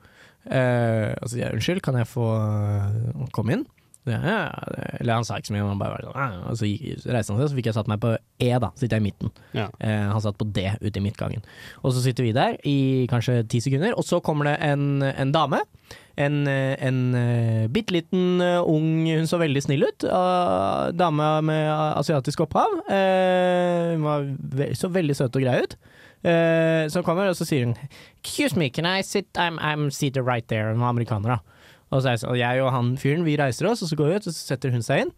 Speaker 4: Eh, og så sier jeg unnskyld, kan jeg få eh, komme inn? Så jeg, Ja, ja. Eller han sa ikke så mye, han bare var sånn, «Ja, ja». og så gikk- så reiste han seg, så fikk jeg satt meg på E, da. Så sitter jeg i midten.
Speaker 3: Ja.
Speaker 4: Eh, han satt på D ute i midtgangen. Og så sitter vi der i kanskje ti sekunder, og så kommer det en, en dame. En, eh, en eh, bitte liten eh, ung Hun så veldig snill ut. eh, dame med asiatisk opphav. Eh, hun var ve så veldig søt og grei ut. Eh, så kommer hun, og så sier hun Excuse me, can I sit I'm, I'm seated right there. Hun var amerikaner, da. Og så er jeg, så, og jeg og han fyren vi reiser oss, og så går vi ut, og så setter hun seg inn.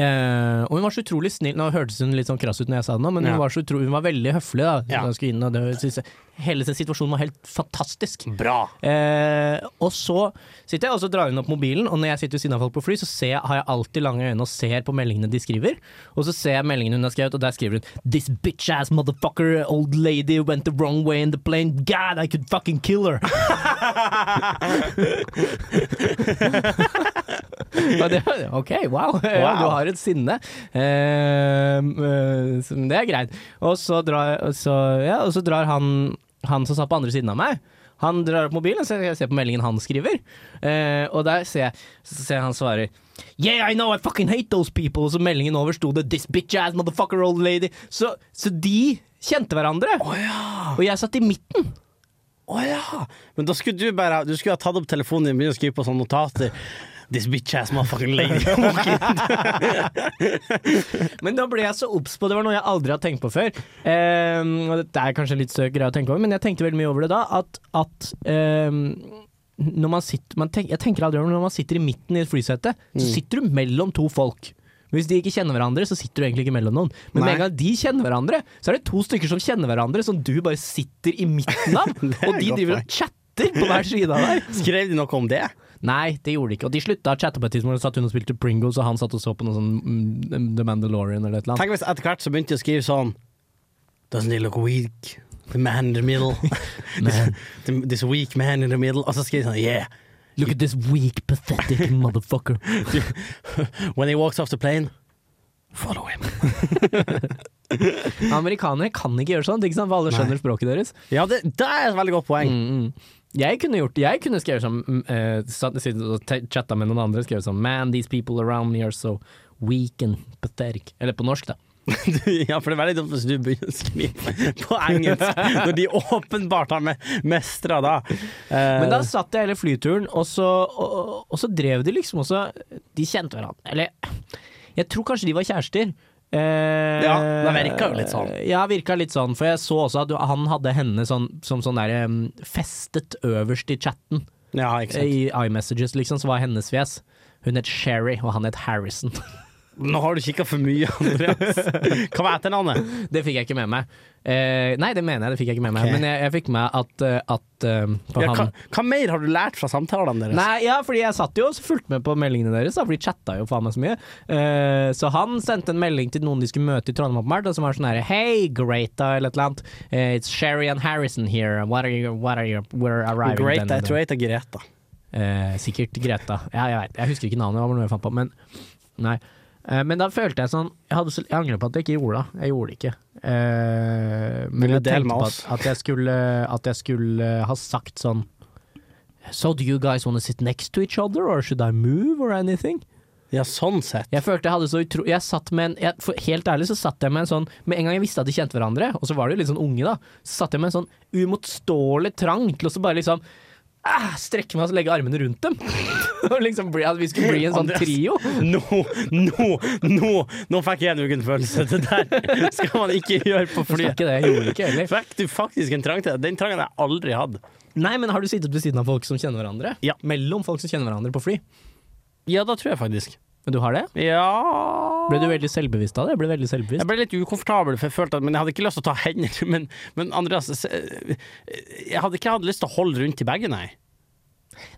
Speaker 4: Eh, og hun var så utrolig snill. Nå hørtes hun litt sånn krass ut når jeg sa det nå, men
Speaker 3: Ja.
Speaker 4: hun, var så utro hun var veldig høflig. da
Speaker 3: Ja.
Speaker 4: da hun skulle inn, og det, synes jeg, Hele sin situasjon var helt fantastisk.
Speaker 3: Bra.
Speaker 4: Eh, og så sitter jeg altså og så drar hun opp mobilen, og når jeg sitter ved siden av folk på fly, så ser jeg, har jeg alltid lange øyne og ser på meldingene de skriver. Og så ser jeg meldingen hun har skrevet, og der skriver hun This bitch ass motherfucker, old lady went the wrong way in the plane. God, I could fucking kill her. Og det, ok, wow. Ja, du har et sinne. Eh, eh, så- men det er greit. Og så drar, og så, ja, og så drar han, han som satt på andre siden av meg, han drar opp mobilen, så jeg ser på meldingen han skriver. Eh, og der ser jeg, så ser jeg han svarer Yeah, I know, I fucking hate those people. Og så meldingen over sto det This bitch ass motherfucker old lady. Så, så de kjente hverandre.
Speaker 3: Å ja.
Speaker 4: Og jeg satt i midten.
Speaker 3: Å ja. Men da skulle du bare Du skulle ha tatt opp telefonen din og begynt å skrive på sånne notater. This bitch ass motherfucking lady.
Speaker 4: Men da ble jeg så obs på, det var noe jeg aldri har tenkt på før. Ehm, og dette er kanskje litt søk greie å tenke over, men jeg tenkte veldig mye over det da. At, at ehm, når man sitter man tenk, Jeg tenker aldri over det, når man sitter i midten i et flysete, så
Speaker 3: Mm.
Speaker 4: sitter du mellom to folk. Hvis de ikke kjenner hverandre, så sitter du egentlig ikke mellom noen. Men med
Speaker 3: Nei.
Speaker 4: en gang de kjenner hverandre, så er det to stykker som kjenner hverandre, som du bare sitter i midten av.
Speaker 3: er
Speaker 4: og
Speaker 3: et
Speaker 4: de
Speaker 3: godt
Speaker 4: driver og chatter på hver side av deg.
Speaker 3: Skrev de noe om det?
Speaker 4: Nei, det gjorde de ikke. Og de slutta å chatte på et tidspunkt. og Satt hun og spilte Pringles, og han satt og så på noe sånn mm, The Mandalorian eller et eller annet.
Speaker 3: Tenk hvis etter hvert så begynte de å skrive sånn Doesn't he look weak? The man in the middle.
Speaker 4: Man.
Speaker 3: This- This weak man in the middle. Og så skriver de sånn Yeah.
Speaker 4: Look at this weak, pathetic motherfucker.
Speaker 3: When he walks off the plane, follow him.
Speaker 4: Amerikanere kan ikke gjøre sånt, ikke sant? for alle skjønner språket deres.
Speaker 3: Ja, det, det er et veldig godt poeng.
Speaker 4: Jeg kunne gjort Jeg kunne skrevet som uh, satt, sitt og te- chatta med noen andre skrevet som Man, these people around me are so weak and pathetic. Eller på norsk, da.
Speaker 3: ja, for det er veldig dumt hvis du begynner å skrive på engelsk når de åpenbart har me mestra da. Eh,
Speaker 4: Men da satt jeg hele flyturen, og så, og, og- og så drev de liksom også De kjente hverandre. Eller jeg tror kanskje de var kjærester. Eh,
Speaker 3: Ja, det virka jo litt sånn.
Speaker 4: Ja, virka litt sånn, for jeg så også at du- han hadde henne sånn, som sånn der em, festet øverst i chatten. eh,
Speaker 3: Ja, ikke sant.
Speaker 4: I iMessages, liksom, så var hennes fjes. Hun het Sherry, og han het Harrison.
Speaker 3: Nå har du kikka for mye, Andreas. Hva var etternavnet?
Speaker 4: Det fikk jeg ikke med meg. Eh, nei, det mener jeg, det fikk jeg ikke med meg.
Speaker 3: Ok.
Speaker 4: Men jeg, jeg fikk med at, eh, at eh, for
Speaker 3: Ja, hva,
Speaker 4: han
Speaker 3: hva mer har du lært fra samtalene deres?
Speaker 4: Nei, ja, fordi jeg satt jo og fulgte med på meldingene deres, da, for de chatta jo faen meg så mye. Eh, så han sendte en melding til noen de skulle møte i Trondheim, åpenbart, og som var sånn herre Hei, Greta, eller et eller annet. Eh, it's Sherry and Harrison here. What are you, what are you, we're arriving
Speaker 3: Great,
Speaker 4: then and
Speaker 3: jeg tror jeg heter Greta.
Speaker 4: Eh, sikkert Greta. Ja, jeg vet. Jeg husker ikke navnet, det var noe jeg fant på. Men, nei. Eh, men da følte jeg sånn Jeg, hadde så, jeg angrer på at jeg ikke gjorde det. Jeg gjorde det ikke. Eh,
Speaker 3: Vil
Speaker 4: men
Speaker 3: du
Speaker 4: jeg
Speaker 3: dele
Speaker 4: tenkte
Speaker 3: med
Speaker 4: på at,
Speaker 3: oss?
Speaker 4: at, jeg skulle, at jeg skulle ha sagt sånn So do you guys want to sit next to each other, or should I move, or anything?
Speaker 3: Ja, sånn sett.
Speaker 4: Jeg følte jeg hadde så utro... Jeg satt med en jeg, for Helt ærlig så satt jeg med en sånn Med en gang jeg visste at de kjente hverandre, og så var de jo litt sånn unge, da, så satt jeg med en sånn uimotståelig trang til å så bare liksom ah, strekke meg og så legge armene rundt dem. Og liksom bli, at vi skulle bli en sånn
Speaker 3: Andreas.
Speaker 4: trio.
Speaker 3: Nå, nå, nå Nå fikk jeg en uken følelse. Det der skal man ikke gjøre på
Speaker 4: Jeg sa
Speaker 3: flyet.
Speaker 4: ikke det, jeg gjorde ikke heller.
Speaker 3: Fikk du faktisk en trang til det? Den trangen har jeg aldri hatt.
Speaker 4: Nei, men har du sittet ved siden av folk som kjenner hverandre?
Speaker 3: Ja.
Speaker 4: Mellom folk som kjenner hverandre på fly?
Speaker 3: Ja, da tror jeg faktisk.
Speaker 4: Men du har det?
Speaker 3: Ja
Speaker 4: Ble du veldig selvbevisst av det? Jeg ble veldig selvbevisst.
Speaker 3: Jeg ble litt ukomfortabel, for jeg følte at Men jeg hadde ikke lyst til å ta hender. Men, men Andreas, se- jeg hadde ikke hatt lyst til å holde rundt i bagen, nei.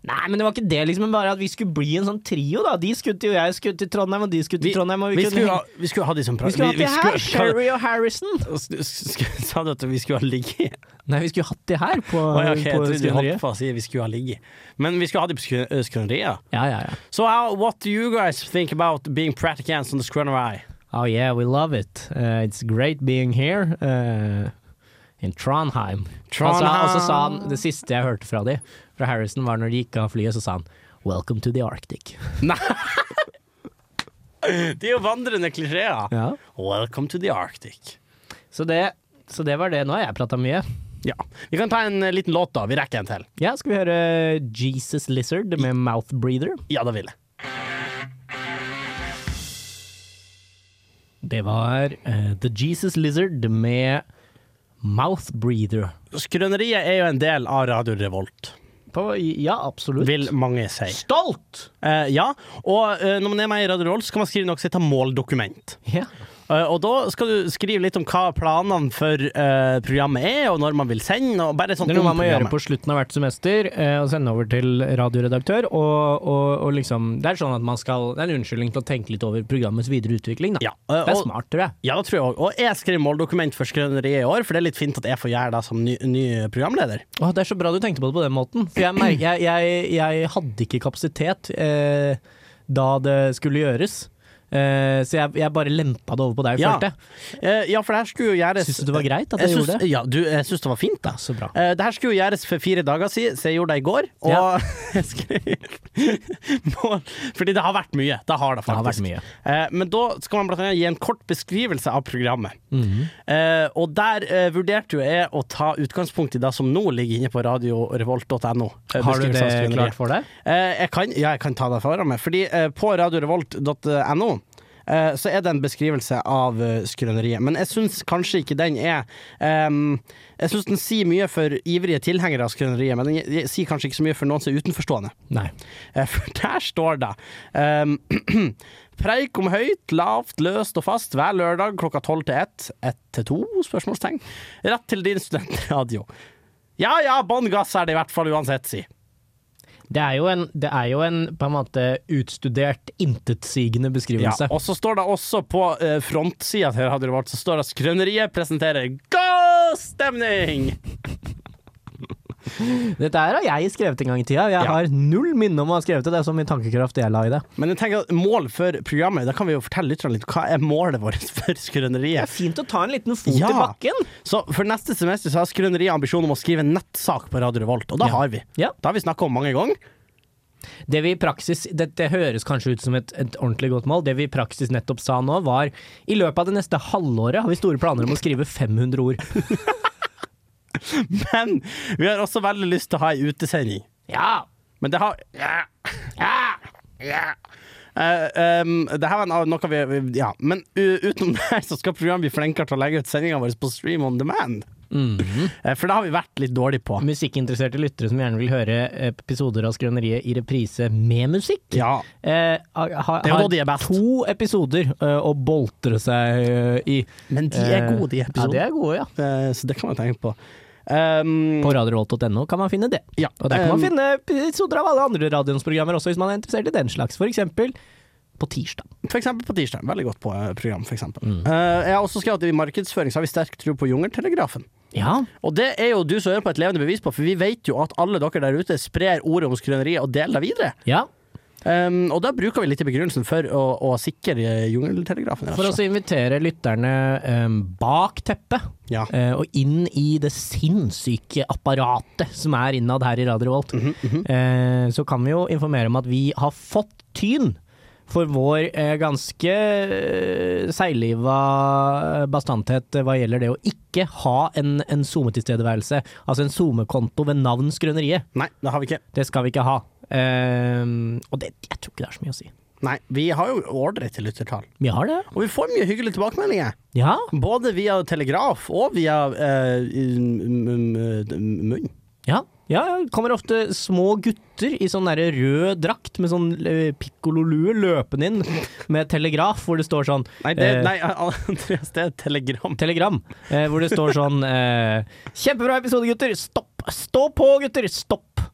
Speaker 4: Nei, men det var ikke det, liksom. Men bare at vi skulle bli en sånn trio, da. De skulle til, og jeg skulle til Trondheim, og de skulle til Trondheim, og vi,
Speaker 3: vi,
Speaker 4: kunne
Speaker 3: skulle,
Speaker 4: henge-
Speaker 3: ha- vi skulle ha de som pra-
Speaker 4: Vi skulle hatt
Speaker 3: vi- vi
Speaker 4: det her,
Speaker 3: skulle-
Speaker 4: Sherry og Harrison.
Speaker 3: Sk- sk- Sa du at vi skulle ha ligget?
Speaker 4: Nei, vi skulle hatt det her på,
Speaker 3: Å ja, ok, jeg
Speaker 4: på
Speaker 3: trodde du
Speaker 4: skrøneriet.
Speaker 3: hoppet på å si vi skulle ha ligget. Men vi skulle ha de på eh, skrø- skrøneriet.
Speaker 4: Ja, ja, ja.
Speaker 3: So how, uh, what do you guys think about being practicants on the Skrøneri?
Speaker 4: Oh yeah, we love it. Uh, it's great being here uh, in Trondheim. Han sa, og så sa han, det siste jeg hørte fra de, fra Harrison, var når de gikk av flyet, så sa han Welcome to the Arctic.
Speaker 3: Det er jo vandrende klisjeer.
Speaker 4: Ja.
Speaker 3: Welcome to the Arctic.
Speaker 4: Så, det, så det var det. Nå har jeg prata mye.
Speaker 3: Ja. Vi kan ta en eh, liten låt, da. Vi rekker en til.
Speaker 4: Ja, skal vi høre Jesus Lizard med Mouth Breather?
Speaker 3: Ja, det vil jeg.
Speaker 4: Det var eh, The Jesus Lizard med Mouth Breather.
Speaker 3: Skrøneriet er jo en del av Radio Revolt,
Speaker 4: På, ja, absolutt.
Speaker 3: vil mange si.
Speaker 4: Stolt!
Speaker 3: Eh, ja, og eh, når man er med i Radio Revolt, så kan man skrive noe som heter måldokument.
Speaker 4: Ja.
Speaker 3: Eh, og da skal du skrive litt om hva planene for eh, programmet er, og når man vil sende, og bare sånn
Speaker 4: Det er noe
Speaker 3: om
Speaker 4: man må gjøre
Speaker 3: programmet.
Speaker 4: på slutten av hvert semester, eh, og sende over til radioredaktør. Og, og, og liksom, det er sånn at man skal Det er en unnskyldning til å tenke litt over programmets videre utvikling, da.
Speaker 3: Ja, eh,
Speaker 4: Det er
Speaker 3: og-
Speaker 4: smart, tror jeg.
Speaker 3: Ja, det tror jeg òg. Og jeg skrev måldokument for Skrøneriet i år, for det er litt fint at jeg får gjøre det som ny, ny programleder.
Speaker 4: Å, det er så bra du tenkte på det på den måten. For jeg, merker, jeg, jeg, jeg hadde ikke kapasitet eh, da det skulle gjøres. Eh, så jeg, jeg bare lempa det over på deg,
Speaker 3: Ja.
Speaker 4: følte jeg.
Speaker 3: Eh, ja, for det her skulle jo gjøres
Speaker 4: Syns du det var greit at jeg,
Speaker 3: Jeg syns-
Speaker 4: gjorde det?
Speaker 3: Ja, du, jeg syns det var fint, da.
Speaker 4: Så bra.
Speaker 3: Eh, det her skulle jo gjøres for fire dager siden, så jeg gjorde det i går. Og
Speaker 4: Ja.
Speaker 3: jeg skrev mål Fordi det har vært mye. Det har det
Speaker 4: Det har vært
Speaker 3: faktisk.
Speaker 4: mye.
Speaker 3: Eh, men da skal man blant annet gi en kort beskrivelse av programmet.
Speaker 4: Mhm.
Speaker 3: Eh, og der eh, vurderte jo jeg å ta utgangspunkt i det som nå ligger inne på radiorevolt.no. eh,
Speaker 4: Har du
Speaker 3: beskrivelse
Speaker 4: det
Speaker 3: av skrøneriet.
Speaker 4: klart for deg?
Speaker 3: Eh, jeg kan, ja, jeg kan ta det foran meg. Fordi eh, på radiorevolt.no eh, så er det en beskrivelse av eh, skrøneriet. Men jeg syns kanskje ikke den er ehm, Jeg syns den sier mye for ivrige tilhengere av skrøneriet, men den gi- gi- sier kanskje ikke så mye for noen som er utenforstående.
Speaker 4: Nei.
Speaker 3: Eh, For der står det ehm, Preik om høyt, lavt, løst og fast hver lørdag klokka tolv til ett. Ett til to? Spørsmålstegn. Rett til din studentradio. Ja ja, bånn gass er det i hvert fall uansett, si.
Speaker 4: Det er jo en, det er jo en på en måte utstudert, intetsigende beskrivelse.
Speaker 3: Ja, og så står det også på uh, frontsida til Radio Revolt, så står det Skrøneriet presenterer god stemning!
Speaker 4: Dette her har jeg skrevet en gang i tida. Jeg
Speaker 3: Ja.
Speaker 4: har null minne om å ha skrevet det. Det er så mye tankekraft jeg la i det.
Speaker 3: Men jeg tenker at mål for programmet, da kan vi jo fortelle lytterne litt hva er målet vårt for Skrøneriet.
Speaker 4: fint å ta en liten fot
Speaker 3: Ja. Så for neste semester så har Skrøneriet ambisjon om å skrive en nettsak på Radio Revolt, og da
Speaker 4: Ja.
Speaker 3: har vi.
Speaker 4: Ja.
Speaker 3: Det har vi snakka om mange ganger.
Speaker 4: Det vi i praksis Det, det høres kanskje ut som et, et ordentlig godt mål. Det vi i praksis nettopp sa nå, var i løpet av det neste halvåret har vi store planer om å skrive 500 ord.
Speaker 3: Men vi har også veldig lyst til å ha ei utesending.
Speaker 4: Ja!
Speaker 3: Men det har ja, ja, ja. Eh, ehm, det her var en av- noe vi, vi Ja, men u- utenom det her så skal programmet bli flinkere til å legge ut sendingene våre på Stream on demand.
Speaker 4: Mhm.
Speaker 3: Eh, For det har vi vært litt dårlig på.
Speaker 4: Musikkinteresserte lyttere som gjerne vil høre episoder av Skrøneriet i reprise med musikk.
Speaker 3: Ja.
Speaker 4: Eh, har,
Speaker 3: Det er jo
Speaker 4: har
Speaker 3: da de er best.
Speaker 4: to episoder eh, å boltre seg eh, i. Eh,
Speaker 3: Men de er gode, de
Speaker 4: Ja, de
Speaker 3: episodene.
Speaker 4: er gode, ja.
Speaker 3: Eh, Så det kan man tenke på. Um,
Speaker 4: På radiorolt.no kan man finne det.
Speaker 3: ja.
Speaker 4: Og der kan man
Speaker 3: Um,
Speaker 4: finne episoder av alle andre radioens programmer også, hvis man er interessert i den slags. For eksempel på tirsdag.
Speaker 3: For eksempel på tirsdag. Veldig godt på eh, program, for eksempel.
Speaker 4: Mm.
Speaker 3: Eh, jeg har også skrevet at i markedsføring så har vi sterk tro på Jungeltelegrafen.
Speaker 4: Ja.
Speaker 3: Og det er jo du som hører på et levende bevis på, for vi vet jo at alle dere der ute sprer ordet om skrøneriet og deler det videre.
Speaker 4: ja.
Speaker 3: Um, og da bruker vi litt i begrunnelsen for å, å sikre eh, Jungeltelegrafen. rett og
Speaker 4: For
Speaker 3: slett.
Speaker 4: å invitere lytterne eh, bak teppet,
Speaker 3: Ja.
Speaker 4: eh, og inn i det sinnssyke apparatet som er innad her i Radio Volt, eh, så kan vi jo informere om at vi har fått tyn for vår eh, ganske eh, seigliva bastanthet hva gjelder det å ikke ha en, en SoMe-tilstedeværelse, altså en SoMe-konto ved navn Skrøneriet.
Speaker 3: Nei, det har vi ikke.
Speaker 4: Det skal vi ikke ha. Eh, og det, jeg tror ikke det er så mye å si.
Speaker 3: Nei, vi har jo ordre til lyttertall.
Speaker 4: Vi har det.
Speaker 3: Og vi får mye hyggelige tilbakemeldinger.
Speaker 4: Ja.
Speaker 3: Både via telegraf og via eh, m- m- m- munn.
Speaker 4: Ja, ja, det kommer ofte små gutter i sånn derre rød drakt med sånn eh, pikkololue løpende inn med telegraf hvor det står sånn
Speaker 3: Nei, det,
Speaker 4: eh,
Speaker 3: nei, Andreas, det er telegram.
Speaker 4: Telegram, eh, hvor det står sånn eh, Kjempebra episode, gutter! Stopp! Stå på, gutter! Stopp!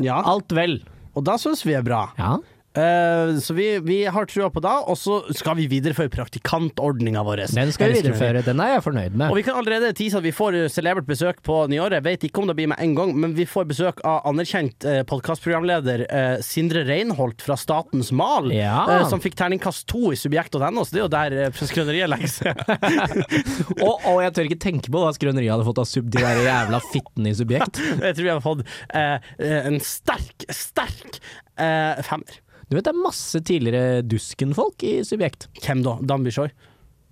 Speaker 3: Ja,
Speaker 4: Alt vel.
Speaker 3: og da syns vi er bra.
Speaker 4: Ja.
Speaker 3: Eh, så vi, vi har trua på det, og så skal vi videreføre praktikantordninga vår.
Speaker 4: Den skal vi
Speaker 3: Eller
Speaker 4: videreføre. Den er jeg fornøyd
Speaker 3: Og
Speaker 4: med.
Speaker 3: vi kan allerede tease at vi får eh, celebert besøk på nyåret. Vet ikke om det blir med en gang, men vi får besøk av anerkjent eh, podkastprogramleder eh, Sindre Reinholt fra Statens Mal,
Speaker 4: Ja.
Speaker 3: eh, som fikk terningkast to i subjekt.no, så det er jo der eh, skrøneriet legger seg.
Speaker 4: Og, og jeg tør ikke tenke på hva skrøneriet hadde fått av sub, de der jævla fittene i subjekt.
Speaker 3: Jeg tror vi har fått eh, eh, en sterk, sterk eh, femmer.
Speaker 4: Du vet det er masse tidligere Dusken-folk i subjekt.
Speaker 3: Hvem da? Damby Shore?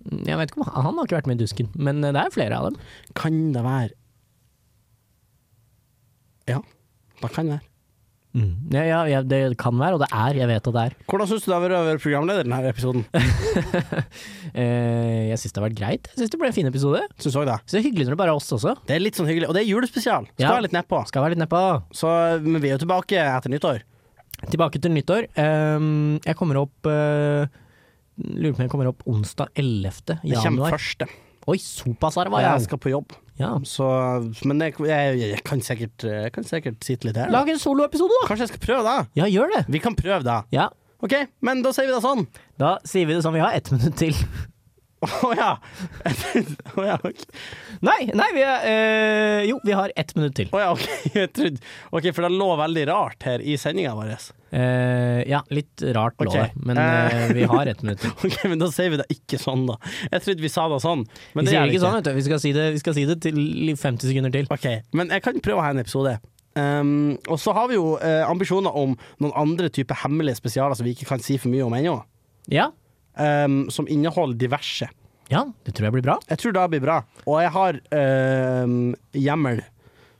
Speaker 4: Jeg vet ikke om Han har ikke vært med i Dusken, men eh, det er flere av dem.
Speaker 3: Kan det være Ja, det kan det være.
Speaker 4: Mm. Ja, ja, ja, det kan være, og det er. Jeg vet at det er.
Speaker 3: Hvordan syns du det har vært å være programleder i denne episoden?
Speaker 4: Eh, jeg syns det har vært greit. Jeg syns det ble en fin episode.
Speaker 3: Syns òg det.
Speaker 4: Så det er hyggelig når det bare er oss også.
Speaker 3: Det er litt sånn hyggelig. Og det er julespesial. Skal
Speaker 4: Ja.
Speaker 3: være litt nedpå.
Speaker 4: Skal være litt nedpå.
Speaker 3: Så, men vi er jo tilbake etter nyttår.
Speaker 4: Tilbake til nyttår. Eh, jeg kommer opp eh, Lurer på om jeg kommer opp onsdag 11.
Speaker 3: Det kommer
Speaker 4: januar.
Speaker 3: første.
Speaker 4: Oi, såpass arva,
Speaker 3: Jeg
Speaker 4: ja.
Speaker 3: skal på jobb.
Speaker 4: ja.
Speaker 3: Så, men jeg, jeg, jeg, kan sikkert, jeg kan sikkert sitte litt her. da.
Speaker 4: Lag en soloepisode, da!
Speaker 3: Kanskje jeg skal prøve det?
Speaker 4: Ja, gjør det!
Speaker 3: Vi kan prøve det.
Speaker 4: Ja.
Speaker 3: OK, men da sier vi det sånn.
Speaker 4: Da sier vi det sånn. Vi har ett minutt til.
Speaker 3: Å ja. Å ja, ok.
Speaker 4: Nei, nei, vi er eh, Jo, vi har ett minutt til.
Speaker 3: Å ja, ok. Jeg trodde OK, for det lå veldig rart her i sendinga vår.
Speaker 4: Eh, ja, litt rart lå
Speaker 3: Ok.
Speaker 4: det, men
Speaker 3: Eh.
Speaker 4: eh, vi har ett minutt til.
Speaker 3: OK, men da sier vi det ikke sånn, da. Jeg trodde vi sa det sånn, men
Speaker 4: vi
Speaker 3: det
Speaker 4: sier
Speaker 3: gjør
Speaker 4: det
Speaker 3: vi
Speaker 4: ikke
Speaker 3: ikke.
Speaker 4: sånn, vet du. Vi skal si det, vi skal si det til i 50 sekunder til.
Speaker 3: OK, men jeg kan prøve å ha en episode. Um, og så har vi jo eh, ambisjoner om noen andre typer hemmelige spesialer som vi ikke kan si for mye om ennå.
Speaker 4: Ja.
Speaker 3: Um, som inneholder diverse.
Speaker 4: ja, det tror jeg blir bra.
Speaker 3: Jeg tror det blir bra. Og jeg har um, hjemmel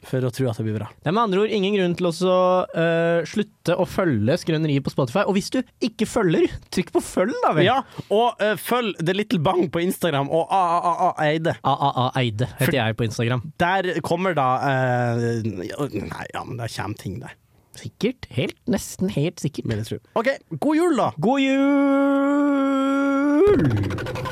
Speaker 3: for å tro at det blir bra.
Speaker 4: Det er med andre ord ingen grunn til å så, øh, slutte å følge Skrøneriet på Spotify. Og hvis du ikke følger, trykk på følg, da vel.
Speaker 3: Ja, og eh, følg The Little Bang på Instagram og AAA Eide.
Speaker 4: AAA Eide heter jeg på Instagram.
Speaker 3: Der kommer da eh, Nei, ja, men det kommer ting der,
Speaker 4: Sikkert. Helt, nesten helt sikkert.
Speaker 3: vil jeg tro. OK, god jul, da!
Speaker 4: God jul!